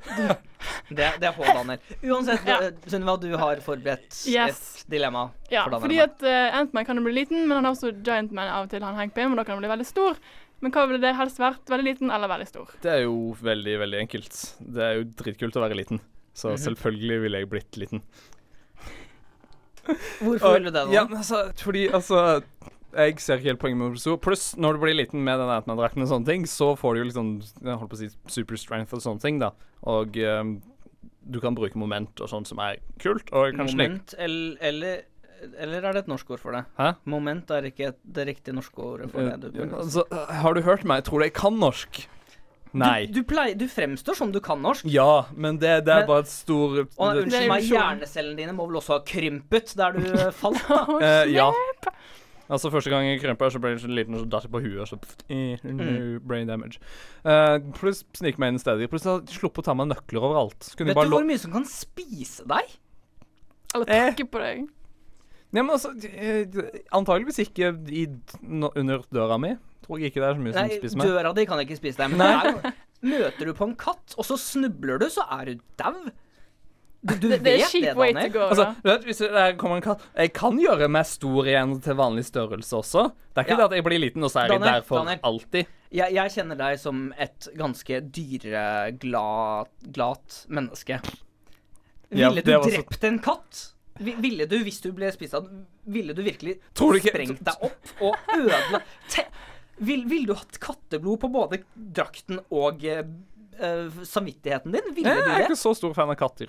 S1: Det, det er på, Daniel. Uansett, eh, Sunniva, du har forberedt
S2: Yes.
S1: et dilemma
S2: Ja,
S1: for
S2: fordi
S1: Daniel.
S2: at eh, Ant-Man kan jo bli liten, men han er også Giant-Man av og til, han Hank Pym, og da kan han bli veldig stor. Men hva ville det helst vært? Veldig liten eller veldig stor?
S3: Det er jo veldig, veldig enkelt. Det er jo dritkult å være liten. Så
S1: Mhm.
S3: selvfølgelig ville jeg blitt liten.
S1: Hvorfor
S3: Og-
S1: vil du det, da?
S3: Ja, men altså, fordi altså jeg ser ikke helt poenget med å bli stor. Pluss, når du blir liten med den Atman-drakten og sånne ting, så får du jo liksom jeg holdt på å si super strength og sånne ting, da. Og ehm, du kan bruke moment og sånt som er kult. Og kanskje
S1: Moment, el- eller, eller er det et norsk ord for det?
S3: Hæ?
S1: Moment er ikke et, det riktige norske ordet for det.
S3: Eh,
S1: Du,
S3: altså, har du hørt meg? Tror du jeg kan norsk? Nei.
S1: du, pleier, du fremstår som du kan norsk.
S3: Ja, men det, det er
S1: Men-
S3: bare et stor
S1: Å, nei,
S3: det-
S1: unnskyld meg, hjernecellene dine må vel også ha krympet der du eh, falt?
S3: Eh, ja. Altså Første gang jeg krympa, så ble jeg så liten og så datt jeg på huet. Og så pff, eh,
S1: Mm.
S3: no brain damage. Eh, pluss snike meg inn steder. Pluss jeg slapp å ta med nøkler overalt. Så kunne
S1: Vet
S3: jeg bare
S1: du
S3: lå
S1: hvor mye som kan spise deg?
S2: Eller
S3: Eh,
S2: takke på deg?
S3: Nei, men altså, eh, Antageligvis ikke i, d- nå- under døra mi. Tror jeg ikke det er så mye
S1: Nei,
S3: som spiser meg.
S1: døra di kan ikke spise deg. Men det er jo, møter du på en katt, og så snubler du, så er du dau. Du, du
S2: det er
S1: vet det,
S2: cheap way to
S1: Daniel.
S2: go,
S3: Altså, du vet, hvis det der kommer en katt Jeg kan gjøre meg stor igjen til vanlig størrelse også. Det er ikke
S1: Ja.
S3: det at jeg blir liten, og så er jeg
S1: Daniel,
S3: der for
S1: Daniel.
S3: alltid.
S1: Jeg, jeg kjenner deg som et ganske dyreglat menneske.
S3: Ja,
S1: Ville du
S3: det var så-
S1: drept en katt? Vi- Ville du, hvis du ble spist av den, Ville du virkelig
S3: Tror du ikke-
S1: sprengt deg opp og ødela Te- Vil- Ville du hatt katteblod på både drakten og eh, eh, samvittigheten din? Ville
S3: Jeg er
S1: du
S3: ikke
S1: det?
S3: så stor fan av katter.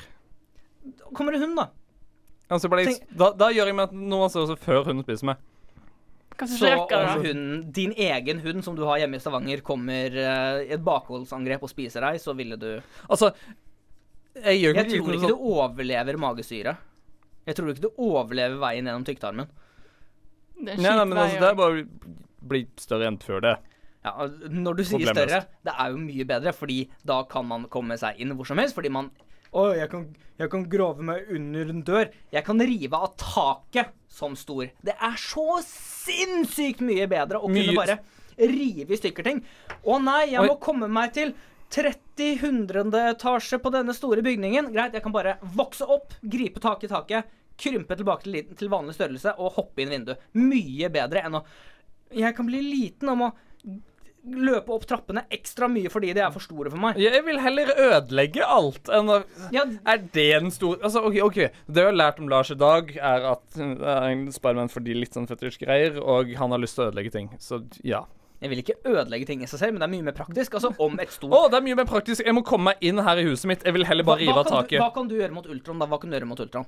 S1: Kommer det hund, da?
S3: Altså, ble jeg, da, da gjør jeg meg til noen størrelse før hun spiser meg.
S2: Kanskje
S1: Så
S2: ikke
S1: om
S2: rekker det. da.
S3: altså-
S1: hunden, din egen hund som du har hjemme i Stavanger, kommer eh, i et bakholdsangrep og spiser deg, så ville du
S3: Altså, jeg gjør
S1: Jeg
S3: ikke
S1: tror ikke du overlever magesyre. Jeg tror ikke du overlever veien gjennom tykktarmen.
S2: Det er
S3: Nei, nei,
S2: kjipt
S3: men altså,
S2: vei
S3: det
S2: å-
S3: er bare å bli større enn før det.
S1: Ja, når du sier
S3: Problemløst.
S1: større, det er jo mye bedre, fordi da kan man komme seg inn hvor som helst, fordi man Å, jeg kan, jeg kan grave meg under en dør. Jeg kan rive av taket som stor. Det er så sinnssykt mye bedre å
S3: Mye-
S1: kunne bare rive i stykker ting. Å nei, jeg må
S3: Oi.
S1: komme meg til 30 hundrede etasje på denne store bygningen. Greit, jeg kan bare vokse opp, gripe tak i taket, krympe tilbake til, liten- til vanlig størrelse og hoppe inn i vinduet. Mye bedre enn å Jeg kan bli liten og må løpe opp trappene ekstra mye fordi de er for store for meg.
S3: Jeg vil heller ødelegge alt enn å Er det en stor Altså, OK, ok, det jeg har lært om Lars i dag, er at uh, han sparer meg for de litt sånn fetisj-greier, og han har lyst til å ødelegge ting. Så ja.
S1: Jeg vil ikke ødelegge ting i seg selv, men det er mye mer praktisk. Altså, om et
S3: Å,
S1: stort
S3: det er mye mer praktisk. Jeg må komme meg inn her i huset mitt. Jeg vil heller bare rive av
S1: kan du, hva
S3: taket. Hm?
S1: kan du gjøre mot Ultron, da? Hva kan du gjøre mot Ultron?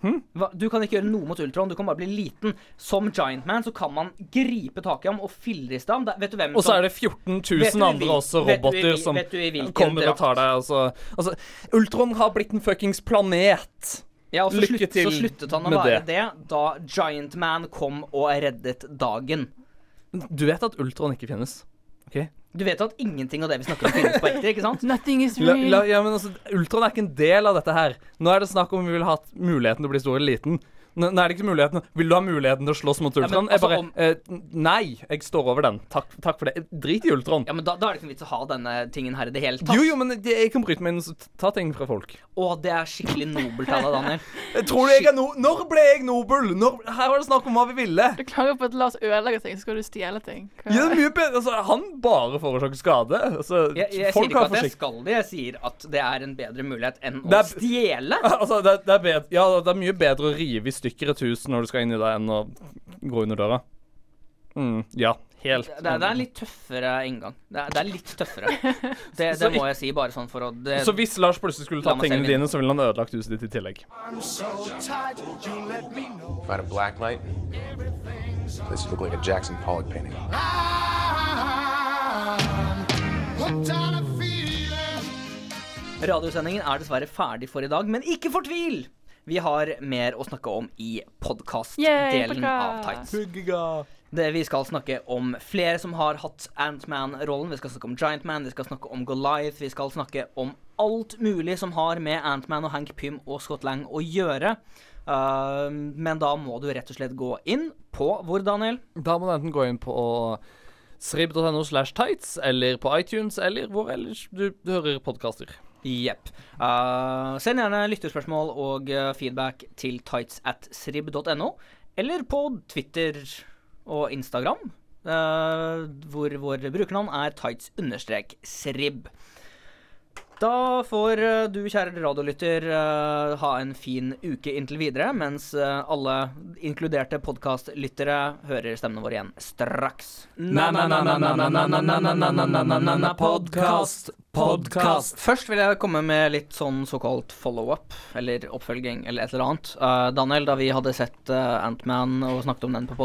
S1: Hva, du kan ikke gjøre noe mot Ultron, du kan bare bli liten. Som Giantman så kan man gripe tak i ham og fillriste ham. Det- Vet du hvem
S3: Og så
S1: som-
S3: er det 14
S1: Vet du i
S3: 000 andre
S1: hvil-
S3: også
S1: vet du i
S3: roboter
S1: hvil-
S3: som
S1: vet du i hvilken
S3: kommer og
S1: drakt?
S3: tar deg, altså. Altså, Ultron har blitt en fuckings planet.
S1: ja, og så,
S3: Lykke
S1: slutt,
S3: til
S1: så sluttet han å
S3: med
S1: være
S3: det.
S1: det. da Giantman kom og reddet dagen.
S3: Du vet at Ultron ikke finnes. OK?
S1: Du vet at ingenting av det vi snakker om, finnes på ekte, ikke
S3: [laughs]
S1: sant?
S2: Nothing is
S3: La,
S2: real.
S3: la, ja, men altså, Ultron er ikke en del av dette her. Nå er det snakk om vi vil ha hatt muligheten til å bli stor eller liten. Nå, nå er det ikke muligheten Vil du ha muligheten til å slåss mot
S1: Ja,
S3: Ultron?
S1: men altså,
S3: jeg bare
S1: om-
S3: eh, Nei, jeg står over den. Takk, takk for det. Drit i Ultron.
S1: Ja, men da, da er det ikke noe vits å ha denne tingen her i det hele tatt.
S3: Jo, jo, men det- jeg kan bryte meg inn og s- ta ting fra folk.
S1: Å, det er skikkelig nobelt av deg, Daniel.
S3: Tror du jeg er no Når ble jeg nobel? Når her var det snakk om hva vi ville.
S2: Du klager på at Lars ødelegger ting, så skal du stjele ting. Hva-
S3: Ja, det er mye bedre. Altså, han bare forårsaker skade. Altså,
S1: Jeg, jeg sier
S3: folk
S1: ikke
S3: har
S1: at jeg
S3: forsikt.
S1: skal det, jeg sier at det er en bedre mulighet enn
S3: Det
S1: å
S3: er-
S1: stjele.
S3: [laughs] Altså, det, det, er bedre, ja, det er mye bedre å rive i stykker et hus når du skal inn i det, enn å gå under døra. Mm, ja, Helt
S1: Det, det er- det er en litt tøffere inngang. Det er, det er litt tøffere.
S3: [laughs]
S1: Det, det
S3: Så-
S1: må jeg si, bare sånn for å det,
S3: Så hvis Lars plutselig skulle
S1: La
S3: tatt
S1: meg se
S3: tingene
S1: min.
S3: dine, så ville han ødelagt huset ditt i tillegg.
S11: I'm so tired, won't you let me know?
S13: If I had a black light, this would look like a Jackson Pollock painting.
S11: Hooked on a feeling.
S1: Radiosendingen er dessverre ferdig for i dag, men ikke fortvil! Vi har mer å snakke om i
S2: Yay,
S1: podkast-delen av
S2: podcast!
S1: Tights. Det, vi skal snakke om flere som har hatt Antman-rollen. Vi skal snakke om Giantman, vi skal snakke om Goliath. Vi skal snakke om alt mulig som har med Antman og Hank Pym og Scott Lang å gjøre. Eh, men da må du rett og slett gå inn på hvor, Daniel?
S3: Da må du enten gå inn på srib.no slash tights, eller på iTunes, eller hvor ellers du hører podkaster.
S1: Jepp. Eh, send gjerne lytterspørsmål og eh, feedback til tights at srib.no, eller på Twitter og Instagram, eh, hvor vår brukernavn er tights-srib. Da får eh, du, kjære radiolytter, eh, ha en fin uke inntil videre, mens eh, alle inkluderte podkastlyttere hører stemmene våre igjen straks.
S8: Podcast, podcast.
S1: Først vil jeg komme med litt sånn såkalt follow-up, eller oppfølging, eller et eller annet. Eh, Daniel, da vi hadde sett eh, Ant-Man og snakket om den på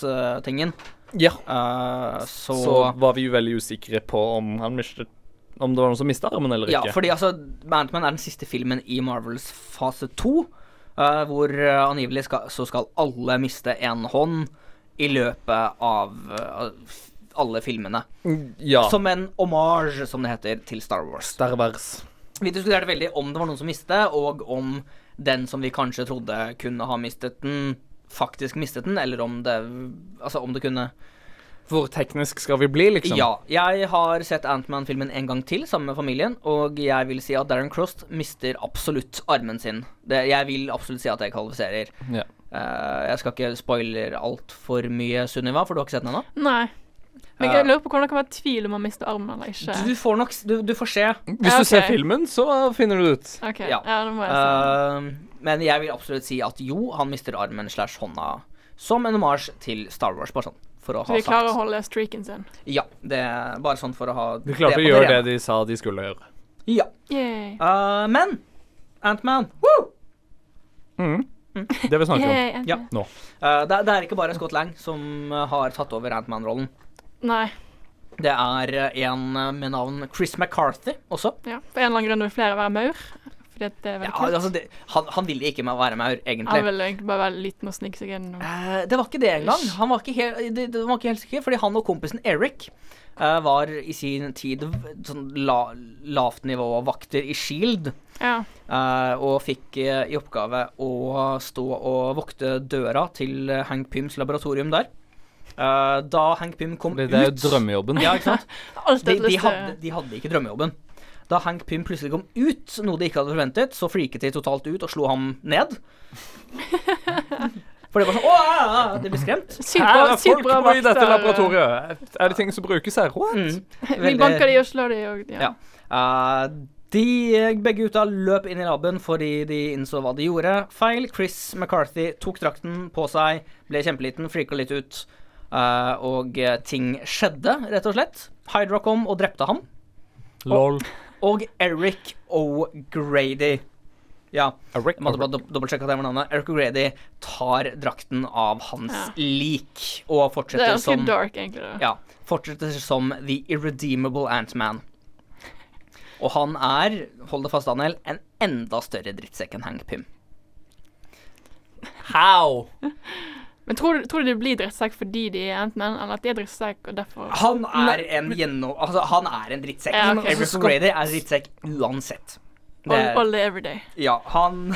S1: podkast-tingen
S3: Ja.
S1: så,
S3: Så var vi jo veldig usikre på om han mistet Om det var noen som mista armen eller
S1: Ja,
S3: ikke.
S1: fordi altså, Ant-Man er den siste filmen i Marvels fase to, eh, hvor eh, angivelig skal, så skal alle miste en hånd i løpet av eh, f- alle filmene.
S3: Mm, ja.
S1: Som en hommage, som det heter, til Star Wars.
S3: Star Wars.
S1: Vi diskuterte veldig om det var noen som mistet, og om den som vi kanskje trodde kunne ha mistet den, faktisk mistet den, eller om det Altså, om det kunne
S3: Hvor teknisk skal vi bli, liksom?
S1: ja. Jeg har sett Antman-filmen en gang til sammen med familien, og jeg vil si at Darren Crost mister absolutt armen sin. Det, jeg vil absolutt si at jeg kvalifiserer.
S3: Ja.
S1: Eh, jeg skal ikke spoiler altfor mye, Sunniva, for du har ikke sett den ennå?
S2: Nei. Men
S1: Eh.
S2: jeg lurer på hvordan det kan være tvil om man mister armen eller ikke.
S1: Du får nok s- Du, du får se.
S3: Hvis du ser filmen, så finner du det ut.
S2: OK. Ja, det må jeg si.
S1: Eh, men jeg vil absolutt si at jo, han mister armen slash hånda som en omasj til Star Wars, bare sånn for å
S2: Så
S1: ha
S2: vi klarer å
S1: sagt.
S2: holde streaken sin.
S1: Ja, det er bare sånn for å ha
S3: De klarte å
S1: på
S3: gjøre
S1: det
S3: det
S1: rene.
S3: de sa de skulle gjøre.
S1: Ja. Eh, men Antman woo!
S3: Mm.
S2: Mm.
S3: Det vil vi snakke
S1: Yay,
S3: om
S1: Ant-Man. Ja.
S3: nå.
S1: Eh, det, det er ikke bare Scott Lang som eh, har tatt over Antman-rollen.
S2: Nei.
S1: Det er eh, en eh, med navn Chris McCarthy også.
S2: Ja. For en eller annen grunn vil flere være maur. Fordi at det er veldig
S1: Ja,
S2: kult.
S1: altså det, han, han ville ikke være maur, egentlig.
S2: Han vil egentlig bare være liten og snike seg inn.
S1: Eh, det var ikke det engang. Han var ikke, he det, det var ikke helt sikker, fordi han og kompisen Eric eh, var i sin tid v- sånn la lavt nivå-vakter i Shield.
S2: Ja.
S1: eh, og fikk eh, i oppgave å stå og vokte døra til eh, Hank Pyms laboratorium der. Eh, da Hank Pym kom
S3: Det-
S1: ut
S3: det er jo drømmejobben.
S1: Ja, ikke sant?
S2: Alt
S1: de, de,
S2: et lyst til-
S1: hadde, de hadde ikke drømmejobben. Da Hank Pym plutselig kom ut, noe de ikke hadde forventet, så freaket de totalt ut og slo ham
S2: [laughs]
S1: ned. For det var sånn Å, ja, ja, ja», de ble skremt.
S3: Her er folk nå i dette laboratoriet. Er det ting som brukes her?
S2: [laughs]
S3: What?
S2: eh, Vi
S1: Veldig-
S2: banker de og slår de og ja.
S1: Ja. Eh, de eh, begge gutta løp inn i laben fordi de innså hva de gjorde feil. Chris McCarthy tok drakten på seg, ble kjempeliten, freaka litt ut. eh, og eh, ting skjedde, rett og slett. Hydra kom og drepte ham.
S3: Lol.
S1: Og Eric O'Grady. Ja. jeg måtte bare dob- dobbeltsjekke at det var navnet. Eric O'Grady tar drakten av hans lik og
S2: Det er
S1: fortsetter
S2: ganske
S1: som
S2: dark, egentlig. da.
S1: sånn- ja. Fortsetter som The Irredeemable Ant-Man. Og han er, hold det fast, Daniel, en enda større drittsekk enn Hank Pym. How?
S2: Men tror, tror du de blir drittsekk fordi de er Ant-Man, eller at de er drittsekk og derfor
S1: Han er en gjennom... Altså, han er en drittsekk.
S2: Ja, ok.
S1: Eric Grady er drittsekk uansett. Det
S2: All,
S1: er,
S2: all day, every day.
S1: ja, han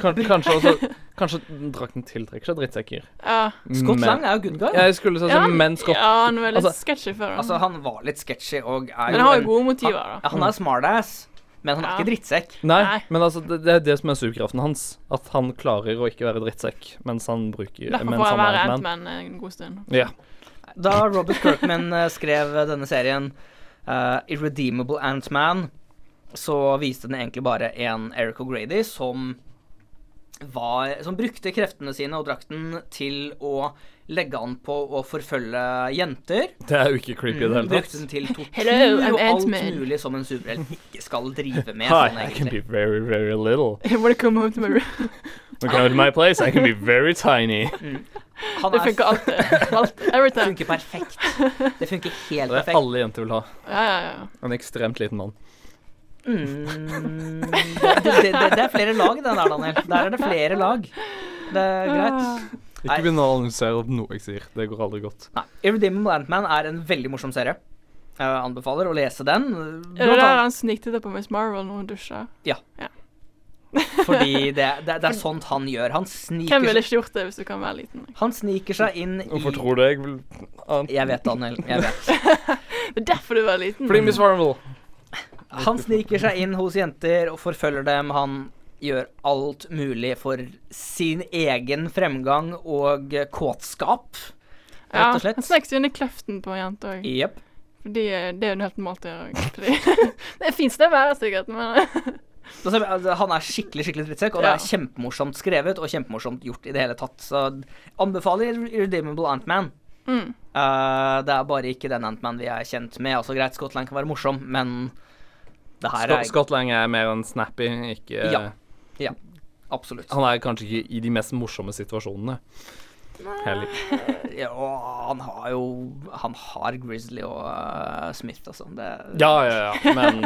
S3: Kanskje, kanskje, også, kanskje drakten tiltrekker seg drittsekker.
S2: Ja.
S1: Scott
S3: Men-
S1: Lang er jo good guy.
S3: Ja, jeg skulle si
S2: Ja, han-
S3: sånn, men Scott
S2: Ja, han var litt
S3: Altså-
S2: sketchy før.
S1: Altså, han var litt sketchy og er
S2: Men han har jo
S1: en-
S2: gode motiver,
S1: han,
S2: da.
S1: ja, han er smartass, men han er ikke drittsekk.
S3: Nei, men altså, det, det er det som er superkraften hans. At han klarer å ikke være drittsekk mens han bruker
S2: Derfor
S3: mens
S2: får han
S3: han er
S2: være
S3: Ant-Man.
S2: Ant-Man en
S1: [laughs]
S2: god stund.
S3: Ja.
S1: Da Robert Kirkman eh, skrev denne serien eh, Irredeemable Ant-Man, så viste den egentlig bare en Eric O'Grady som var Som brukte kreftene sine og drakten til å legge an på å forfølge jenter.
S3: [laughs]
S1: Mm.
S3: Det er jo ikke creepy i det hele tatt.
S1: Brukte den til tortur
S2: Hello, I'm
S1: og alt
S2: Ant-Man.
S1: mulig som en superhelt ikke skal drive med.
S3: Hi,
S1: sånn
S3: I can
S1: egentlig.
S3: be very, very little.
S2: I wanna come home to my room.
S3: When I come to my place, I can be very
S1: [laughs]
S3: tiny.
S1: Mm. Han
S2: [laughs] Det
S1: er-
S2: funker alltid. Alt,
S1: [laughs]
S2: everything.
S1: funker perfekt. Det funker helt
S3: Det er
S1: perfekt.
S3: alle jenter vil ha.
S2: [laughs] Ja, ja, ja.
S3: En ekstremt liten mann.
S1: Mm, det, det, det, det er flere lag i den der, Daniel. Der er det flere lag. Det er
S2: Ah.
S1: greit.
S3: Ikke begynn å analysere opp noe jeg sier. Det går aldri godt.
S1: Nei, Irredeemable Ant-Man er en veldig morsom serie. Jeg anbefaler å lese den.
S2: Er det
S1: Blant
S2: der
S1: annet
S2: han sniktitter på Miss Marvel når hun dusjer?
S1: Ja.
S2: Ja.
S1: [laughs] fordi det, det, det er sånt han gjør. Han sniker,
S2: Hvem ville ikke gjort det hvis du kan være liten?
S1: han sniker seg inn
S3: Hvorfor
S1: i
S3: tror du jeg vil
S1: Jeg vet, Daniel. Jeg vet.
S2: Det er derfor du var liten.
S3: Fordi Miss Marvel.
S1: Han sniker seg inn hos jenter og forfølger dem. Han gjør alt mulig for sin egen fremgang og kåtskap,
S2: Ja,
S1: rett og slett.
S2: Han snek seg inn i kløften på en jente òg.
S1: Jepp.
S2: Fordi eh, det er jo noe helt normalt å gjøre. også. Fordi- [laughs] Det er fint sted å være, sikkert, men [laughs]
S1: Da ser vi- altså, Han er skikkelig skikkelig drittsekk, og det
S2: Ja.
S1: er kjempemorsomt skrevet og kjempemorsomt gjort i det hele tatt. Så anbefaler Irredeemable Ant-Man.
S2: mm.
S1: Eh, det er bare ikke den Ant-Man vi er kjent med. Altså Greit, Scotland kan være morsom, men det her er
S3: Scott, Scott Lang er mer enn snappy, ikke
S1: Ja. Ja, absolutt.
S3: Han er kanskje ikke i de mest morsomme situasjonene. Heller.
S1: Ja, og han har jo Han har Grizzly og eh, Smith, altså. Det,
S3: Ja, ja, ja,
S1: [laughs]
S3: men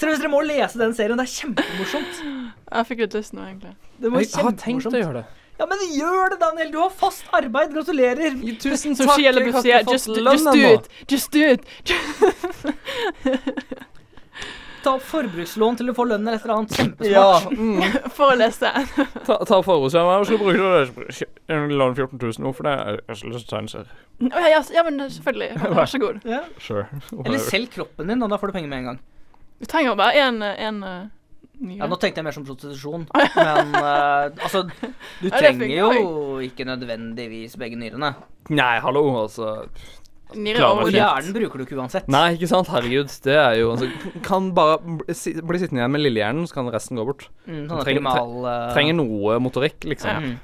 S1: Seriøst, dere må lese den serien. Det er kjempemorsomt.
S2: Jeg fikk litt lyst nå, egentlig.
S1: Det var kjempemorsomt.
S3: gjøre det.
S1: Ja, men gjør det, Daniel! Du har fast arbeid. Gratulerer.
S3: Tusen
S2: Som Shia LaBeouf sier, just, just do it! Just do it! [laughs]
S1: Ta opp forbrukslån til du får lønn eller et eller annet.
S3: Ja, Mm,
S1: Kjempesmart.
S2: For [laughs] å lese.
S3: Ta, ta forhåndsskjermen, og så bruker du det. Lån 14 000 nå, for det er jeg skal ikke tegne seg.
S2: Å, ja, ja, s- ja, men det- selvfølgelig. [laughs] Vær så god.
S1: Ja.
S3: Sure.
S1: Eller selg kroppen din, og da får du penger med en gang.
S2: Du trenger bare én en, eh, nyhet.
S1: Ja, Nå tenkte jeg mer som
S2: [laughs]
S1: prostitusjon, men eh, altså Du
S2: Ja, det
S1: trenger
S2: funker
S1: jo ikke nødvendigvis begge nyrene.
S3: Nei, hallo, altså.
S2: Nire
S3: Klar,
S2: over
S1: Og
S3: fint.
S1: hjernen bruker du ikke uansett.
S3: Nei, ikke sant? Herregud, det er jo altså, Kan bare bli si- bli sittende igjen med lillehjernen, så kan resten gå bort.
S1: Mm, sånn
S3: trenger,
S1: primal, eh,
S3: trenger noe motorikk, liksom.
S1: Mm.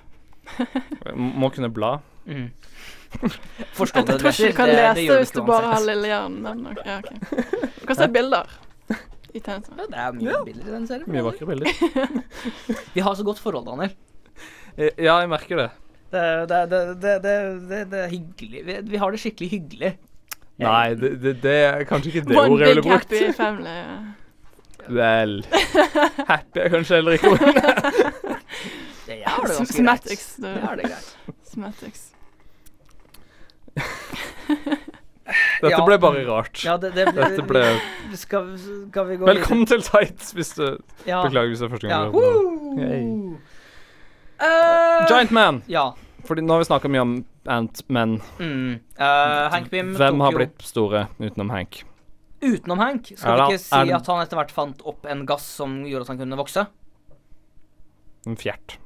S3: [laughs] Må kunne bla.
S1: Mm.
S2: Jeg
S1: Forstå det,
S2: tror ikke du
S1: Dresser.
S2: kan
S1: Det- det
S2: lese
S1: gjør du
S2: hvis
S1: ikke
S2: du bare har
S1: uansett.
S2: lille hjernen. Men, ok, ja,
S1: [laughs]
S2: ok. Du kan se bilder i tegneserier.
S1: Ja, det er mye bilder i den serien.
S3: Mye vakre [laughs] bilder.
S1: Vi har så godt forhold, Daniel.
S3: Eh, Ja, jeg merker det.
S1: Det, det, det, det, det, det, det er hyggelig. Vi, vi har det skikkelig hyggelig.
S3: Nei, det, det, det er kanskje ikke det
S2: One
S3: ordet jeg ville
S2: big
S3: brukt.
S2: happy
S1: [laughs]
S2: family. [laughs] ja.
S3: Vel Happy er kanskje heller ikke ordet.
S1: Det er det
S2: [laughs]
S1: ganske greit.
S2: Smatics.
S1: Det er det
S2: [laughs]
S1: greit.
S2: Smatics.
S3: Dette
S1: [laughs] Ja.
S3: ble bare rart.
S1: Ja, det, det,
S3: Dette ble-
S1: skal, skal vi gå
S3: Velkommen til Tights, hvis du
S1: Ja.
S3: Beklager hvis det er første gang
S1: Ja.
S3: du hører på.
S1: Woo!
S3: det. Giant Man.
S1: Ja.
S3: Fordi nå har vi snakka mye om Ant-Man.
S1: Mm. Eh, Hank Pym
S3: Hvem
S1: tok
S3: har
S1: jo
S3: blitt store utenom Hank?
S1: Utenom Hank,
S3: Er
S1: skal
S3: det-
S1: vi ikke
S3: er
S1: si
S3: det-
S1: at han etter hvert fant opp en gass som gjorde at han kunne vokse?
S3: En fjert.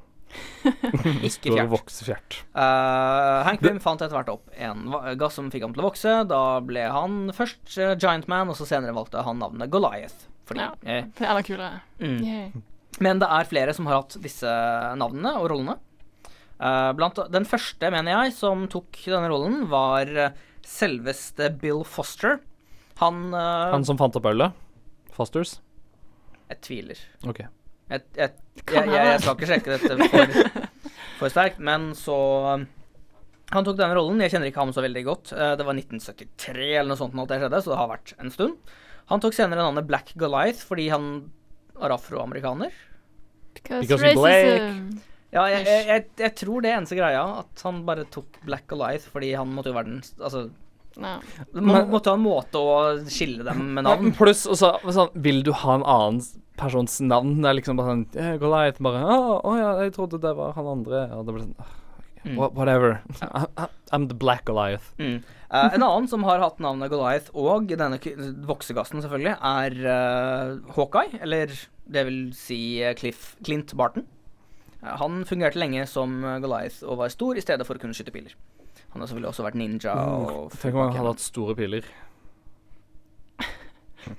S1: Ikke
S3: Stor
S1: fjert.
S3: voksefjert.
S1: Eh, Hank Pym fant etter hvert opp en va- gass som fikk ham til å vokse. Da ble han først eh, Giant Man, og så senere valgte han navnet Goliath. Fordi,
S2: Ja.
S1: eh,
S2: Det er enda kulere.
S1: mm.
S2: Yay.
S1: Men det er flere som har hatt disse navnene og rollene. Eh, blant, den første, mener jeg, som tok denne rollen, var eh, selveste Bill Foster. Han, eh,
S3: Han som fant opp ølet? Fosters?
S1: Jeg tviler.
S3: OK.
S1: Jeg, jeg,
S2: kan
S1: jeg, jeg, jeg
S2: hende.
S1: skal ikke sjekke dette for, for sterkt, men så um, Han tok denne rollen. Jeg kjenner ikke ham så veldig godt. Eh, Det var 1973 eller noe sånt nå at det skjedde, så det har vært en stund. Han tok senere navnet Black Goliath fordi han er afroamerikaner.
S3: Because we're
S2: racism.
S1: Ja, jeg, jeg, jeg, jeg tror det er eneste greia, at han bare tok Black Goliath fordi han måtte jo være den Altså,
S2: Ja.
S1: man måtte ha en måte å skille dem med navn.
S3: Pluss også sånn Vil du ha en annen persons navn? Det er liksom bare sånn eh, Goliath bare Å å ja, jeg trodde det var han andre. Og det blir sånn
S1: Mm.
S3: Wha- Whatever. I, [laughs] I, I'm the black Goliath.
S1: Mm. Eh, en annen som har hatt navnet Goliath og denne k- voksegassen, selvfølgelig, er eh, Hawkeye. Eller det vil si eh, Cliff, Clint Barton. Eh, han fungerte lenge som eh, Goliath og var stor i stedet for å kunne skyte piler. Han har selvfølgelig også vært ninja og
S3: Tenk om han hadde hatt store piler.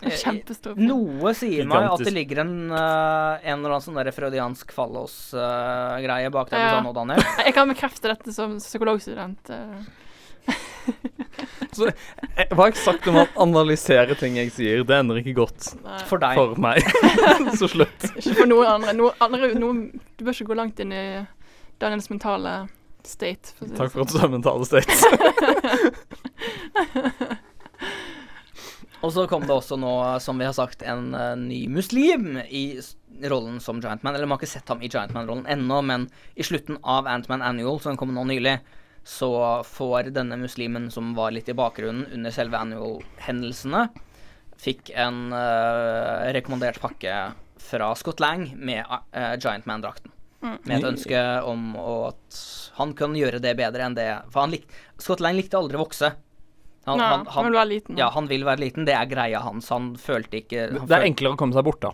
S1: Eh,
S2: Kjempestor film.
S1: Noe sier meg at det
S2: Gigantisk.
S1: ligger en, eh, en eller annen sånn der freudiansk fallos-greie bak det du
S2: Ja.
S1: sa nå, Daniel.
S2: Jeg kan bekrefte dette som psykologstudent. eh.
S3: [laughs] Eh, Hva har jeg sagt om å analysere ting jeg sier? Det ender ikke godt.
S2: Nei.
S3: For [laughs] meg. Så slutt.
S2: Ikke for noen andre. Noe, andre noe, du bør ikke gå langt inn i Daniels mentale state. å si det
S3: Takk for
S2: sånn.
S3: at du sa mentale state.
S1: Og så kom det også nå, som vi har sagt, en eh, ny muslim i s- rollen som Giantman. Eller man har ikke sett ham i Giantman-rollen ennå, men i slutten av Antman Annual, som kom nå nylig, så får denne muslimen som var litt i bakgrunnen under selve Annual-hendelsene, fikk en eh, rekommendert pakke fra Scott Lang med eh, Giantman-drakten.
S2: Mm.
S1: Med et ønske om at han kan gjøre det bedre enn det For han lik, Scott Lang likte aldri å vokse.
S2: Nei, han vil være liten.
S1: Ja, han vil være liten. Det er greia hans. Han følte ikke han
S3: Det er
S1: følte-
S3: enklere å komme seg bort, da.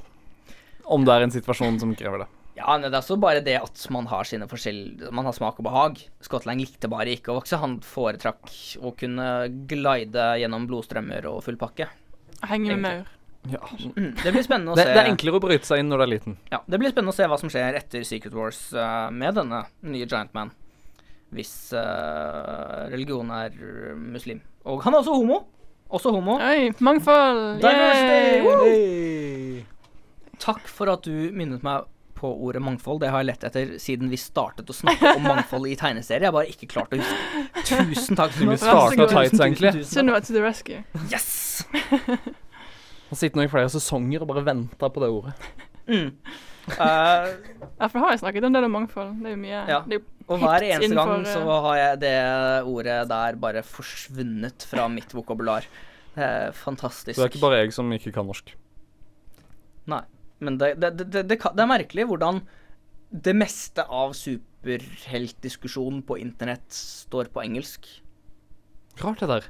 S3: Om det er en situasjon som krever det.
S1: Ja, men det er også bare det at man har sine forskjell... Man har smak og behag. Scott Lang likte bare ikke å vokse. Han foretrakk å kunne glide gjennom blodstrømmer og full pakke.
S2: Henge med maur.
S3: Ja.
S1: Mm, Det blir spennende å
S3: [laughs]
S2: Altså,
S3: Det,
S1: se.
S3: det er enklere å bryte seg inn når du er liten.
S1: Ja, det blir spennende å se hva som skjer etter Secret Wars eh, med denne nye Giantman. Hvis eh, religion er muslim. Og han er også homo. Også homo.
S2: Oi, mangfold!
S1: Diversity!
S2: Yay!
S1: Woo! Takk for at du minnet meg på ordet mangfold. Det har jeg lett etter siden vi startet å snakke om mangfold i tegneserier. Jeg har bare ikke klart å huske. Tusen takk.
S3: Du
S2: altså,
S3: startet tights, egentlig.
S2: Sunniva to the rescue.
S1: Yes!
S3: Han sitter nå i flere sesonger og bare venter på det ordet.
S1: Mm. Eh,
S2: Ja, for da har jeg snakket en del om mangfold. Det er jo mye
S1: ja.
S2: det er jo
S1: Og hver
S2: hekt
S1: eneste gang
S2: innenfor, eh,
S1: så har jeg det ordet der bare forsvunnet fra mitt vokabular. Det er
S3: Så det er
S1: fantastisk.
S3: ikke bare jeg som ikke kan norsk.
S1: Nei. Men det, det, det, det, det, kan- det er merkelig hvordan det meste av superheltdiskusjon på internett står på engelsk.
S3: Rart det der.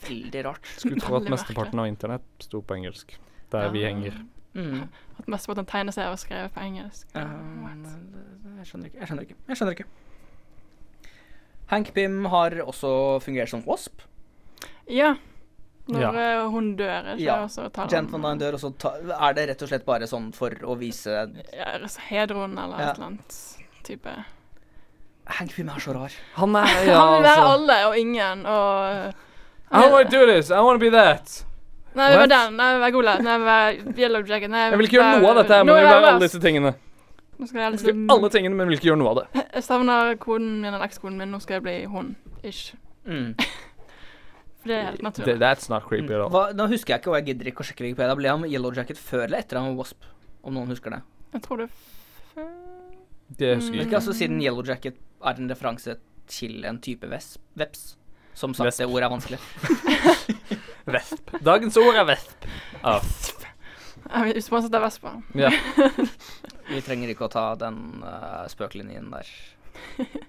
S1: Veldig rart.
S3: Skulle tro at mesteparten av internett sto på engelsk. Der vi henger.
S1: Mm.
S2: At mesteparten av tegneserier var skrevet på engelsk.
S1: Jeg skjønner ikke. Jeg skjønner ikke. Jeg skjønner ikke. Hank Pym har også fungert som Wasp.
S2: Ja. Når
S1: Ja.
S2: eh, hun dør, er det ikke det også taler
S1: Gent Van Dyne dør, og så ta, er det rett og slett bare sånn for å vise
S2: Hedron eller
S1: Ja.
S2: et eller annet type.
S1: Hank Pym er så rar.
S3: Han er [laughs] altså.
S2: han vil være alle og ingen og eh,
S3: I wanna do this. I wanna be that.
S2: Nei, jeg vil
S3: What?
S2: være den. Nei, jeg vil være Golad. Nei, jeg vil være Yellow Jacket. Nei,
S3: Jeg vil ikke gjøre noe av dette, her, men
S2: Nå
S3: jeg vil
S2: jeg
S3: være alle
S2: Wasp.
S3: disse tingene.
S2: Nå skal jeg
S3: Jeg skal
S2: liksom
S3: gjøre alle tingene, men vil ikke gjøre noe av det.
S2: Jeg savner koden min eller ekskoden min. Nå skal jeg bli hun. Ish.
S1: Mm.
S2: For det er helt naturlig.
S3: Det- That's not creepy at all.
S1: Hva, nå husker jeg ikke, og jeg gidder ikke å sjekke Wikipedia. Ble han Yellow Jacket før eller etter han var Wasp? Om noen husker det.
S2: Jeg tror det
S3: Det husker jeg
S1: Ikke
S3: ikke.
S1: altså siden Yellow Jacket er en referanse til en type vesp, veps. Som sagt,
S3: Vesp.
S1: det ordet er vanskelig.
S3: Vesp. Dagens ord er vesp. Ja.
S2: Jeg er sponset av Vespa.
S3: Ja.
S1: Vi trenger ikke å ta den eh, spøklinjen der.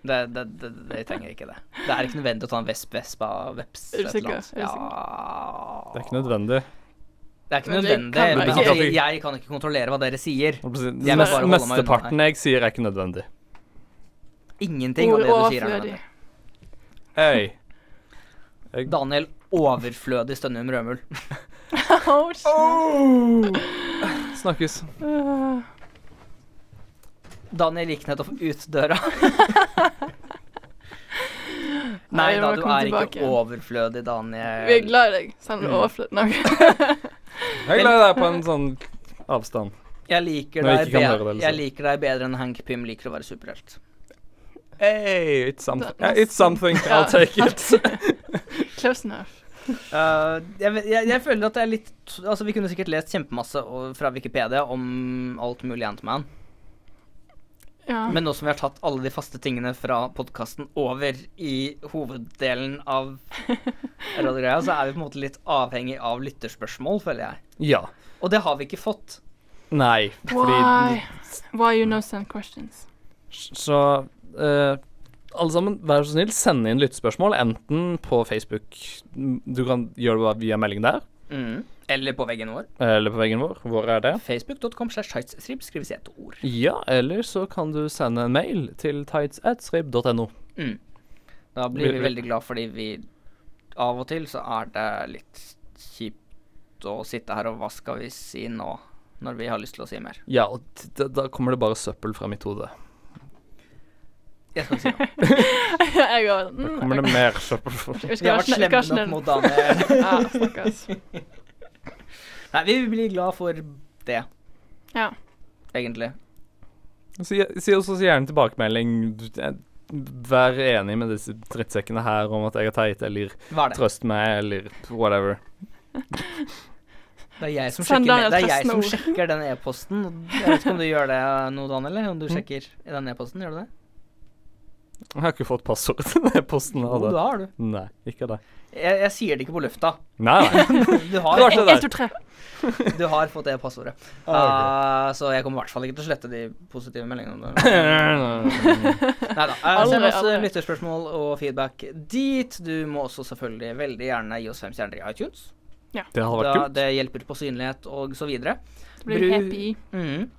S1: Det, det, det, det trenger ikke det. Det er ikke nødvendig å ta en vesp, vespa, veps,
S2: Er du
S1: et eller
S2: sikker?
S1: annet.
S2: Er du
S1: Ja,
S3: Det er ikke nødvendig.
S1: det er ikke
S2: Men det kan
S1: nødvendig.
S2: man
S1: men
S3: ikke.
S1: Jeg, jeg kan ikke kontrollere hva dere sier. Jeg vil bare holde meg unna
S3: Mesteparten jeg sier, er ikke nødvendig.
S1: her. Ingenting av det du sier er nødvendig.
S3: [laughs] Hey.
S1: Daniel overflødig stønner om rødmul.
S2: Oh, shit.
S3: Snakkes.
S2: Øh.
S1: Daniel gikk nettopp ut døra. [laughs] Nei
S2: Nei, jeg
S1: da,
S2: må
S1: du
S2: komme
S1: er
S2: tilbake
S1: ikke
S2: igjen.
S1: overflødig,
S2: Vi er
S1: Daniel.
S2: glad i deg, selv om du
S1: Mm.
S2: er overflødig
S3: [laughs]
S2: nok.
S3: Jeg er glad i deg på en sånn avstand.
S1: Jeg liker,
S3: Når jeg
S1: deg
S3: ikke kan
S1: bedre-
S3: høre det, liksom.
S1: jeg liker deg bedre enn Hank Pym liker å være superhelt.
S3: Hey, it's something. Yeah, it's something. I'll take it.
S2: Close enough.
S1: Uh, jeg, vet- jeg, jeg føler at det er litt Altså, vi kunne sikkert lest kjempemasse og- fra Wikipedia om alt mulig Antman,
S2: Ja.
S1: men nå som vi har tatt alle de faste tingene fra podkasten over i hoveddelen av radiogreia, så er vi på en måte litt avhengig av lytterspørsmål, føler jeg.
S3: Ja.
S1: Og det har vi ikke fått.
S3: Nei, fordi
S2: Why? Why you no send questions?
S3: Så eh, alle sammen, vær så snill, send inn lyttespørsmål, enten på Facebook Du kan gjøre det bare via melding der,
S1: Mm. Eller på veggen vår.
S3: eller på veggen vår. Hvor er det?
S1: Facebook.com slash tightstrip skrives i ett ord.
S3: Ja, eller så kan du sende en mail til tights.srib.no.
S1: Mm. Da blir vi veldig glad fordi vi Av og til så er det litt kjipt godt å sitte her, og hva skal vi si nå? Når vi har lyst til å si mer.
S3: Ja, og t- da, da kommer det bare søppel fra mitt hode.
S1: Jeg skal ikke si noe.
S2: [laughs] jeg går
S3: Da kommer det mer søppel fra
S2: Vi
S1: Vi
S2: skal
S1: har
S2: være
S1: vært
S2: snill-
S1: slemme
S2: vi skal være
S1: nok mot
S2: snill.
S1: Daniel.
S2: [laughs] ja, stakkars.
S1: Nei, vi blir glad for det,
S2: Ja.
S1: egentlig.
S3: Si, si også si gjerne tilbakemelding. Eh, Vær enig med disse drittsekkene her om at jeg er teit, eller
S1: Vær det.
S3: trøst meg, eller whatever.
S1: Det er jeg som
S2: Send
S1: sjekker, med,
S2: Daniel
S1: det er jeg
S2: trøstende
S1: som
S2: ord.
S1: sjekker den e-posten. og Jeg vet ikke om du gjør det nå, Daniel, eller om du sjekker i den e-posten. Gjør du det?
S3: Jeg har ikke fått passordet til den posten.
S1: Jo, det har du.
S3: Nei, ikke det.
S1: Jeg, jeg sier det ikke på
S2: [laughs]
S1: lufta.
S3: Nei, nei.
S1: Du har,
S3: Det var så der. Ett,
S1: Du har fått det passordet.
S3: Ah,
S1: Ah, så jeg kommer i hvert fall ikke til å slette de positive meldingene. [laughs] Nei [laughs] da. Send
S2: Aldri,
S1: oss
S2: aldri.
S1: lytterspørsmål og feedback dit. Du må også selvfølgelig veldig gjerne gi oss fem stjerner i iTunes.
S2: Ja.
S3: Det hadde vært
S1: Da-
S3: kult.
S1: Det hjelper på synlighet og så videre.
S2: Så blir vi
S1: Bru-
S2: happy.
S1: Mhm.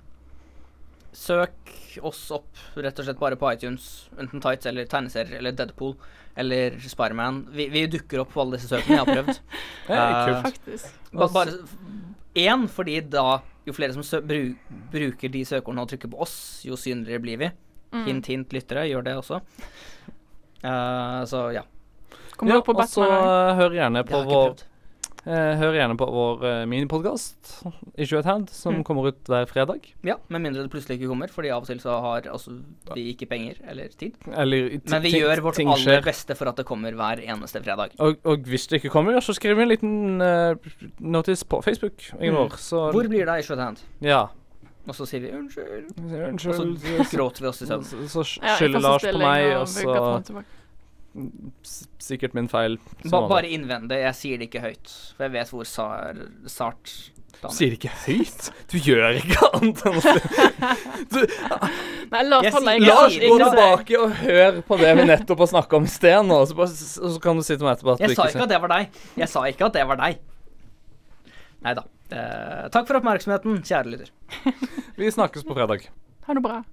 S1: Søk oss opp rett og slett bare på iTunes, enten Tights eller tegneserier eller Deadpool eller Spiderman. Vi, vi dukker opp på alle disse søkene, jeg har prøvd.
S3: Hey,
S1: Eh,
S3: kult.
S2: Faktisk.
S1: ba- bare én, fordi da jo flere som sø bru bruker de søkeordene og trykker på oss, jo synligere blir vi.
S2: Mm.
S1: Hint, hint, lyttere, gjør det også. Eh, så ja.
S2: Kommer
S3: Ja,
S2: opp på
S3: og
S2: Batman
S3: så
S2: også.
S3: eh, hør gjerne på
S1: har jeg ikke
S3: vår eh, Hør gjerne på vår eh, minipodkast, Issue at Hand, som
S1: Mm.
S3: kommer ut hver fredag.
S1: Ja, Med mindre det plutselig ikke kommer, fordi av og til så har altså, vi ikke penger eller tid.
S3: Eller i-
S1: Men vi
S3: ting-
S1: gjør vårt
S3: ting
S1: aller
S3: skjer.
S1: beste for at det kommer hver eneste fredag.
S3: Og, og hvis det ikke kommer, så skriv en liten eh, notice på Facebook.
S1: Mm.
S3: Ignor, så
S1: Hvor blir det av Issue at Hand?
S3: Ja.
S1: Og så sier vi unnskyld.
S3: Unnskyld.
S1: Og så gråter vi oss i søvn.
S3: [laughs] Så, så
S2: Ja, i første
S3: skylder Lars på
S2: sånn stilling,
S3: meg,
S2: og
S3: og
S2: vi går fram
S3: så
S2: tilbake.
S3: s- Sikkert min feil. som
S1: Ba
S3: vanlig.
S1: bare innvend det. Jeg sier det ikke høyt, for jeg vet hvor sar sart Daniel
S3: Sier det ikke høyt? Du gjør ikke [laughs] annet
S1: [laughs]
S3: enn å si- du,
S2: Nei, Lars
S1: Jeg
S2: holder
S1: sier-
S2: ikke
S3: Lars,
S2: ikke
S3: gå
S2: sant?
S3: tilbake og hør på det vi nettopp har snakka om i sted nå, og så, bare, s- og så kan du si til meg etterpå at
S1: Jeg
S3: du
S1: sa
S3: ikke
S1: ikke at det var deg. Jeg sa ikke at det var deg. Nei da. Eh, takk for oppmerksomheten, kjære lytter.
S3: Vi snakkes på fredag.
S2: Ha det bra.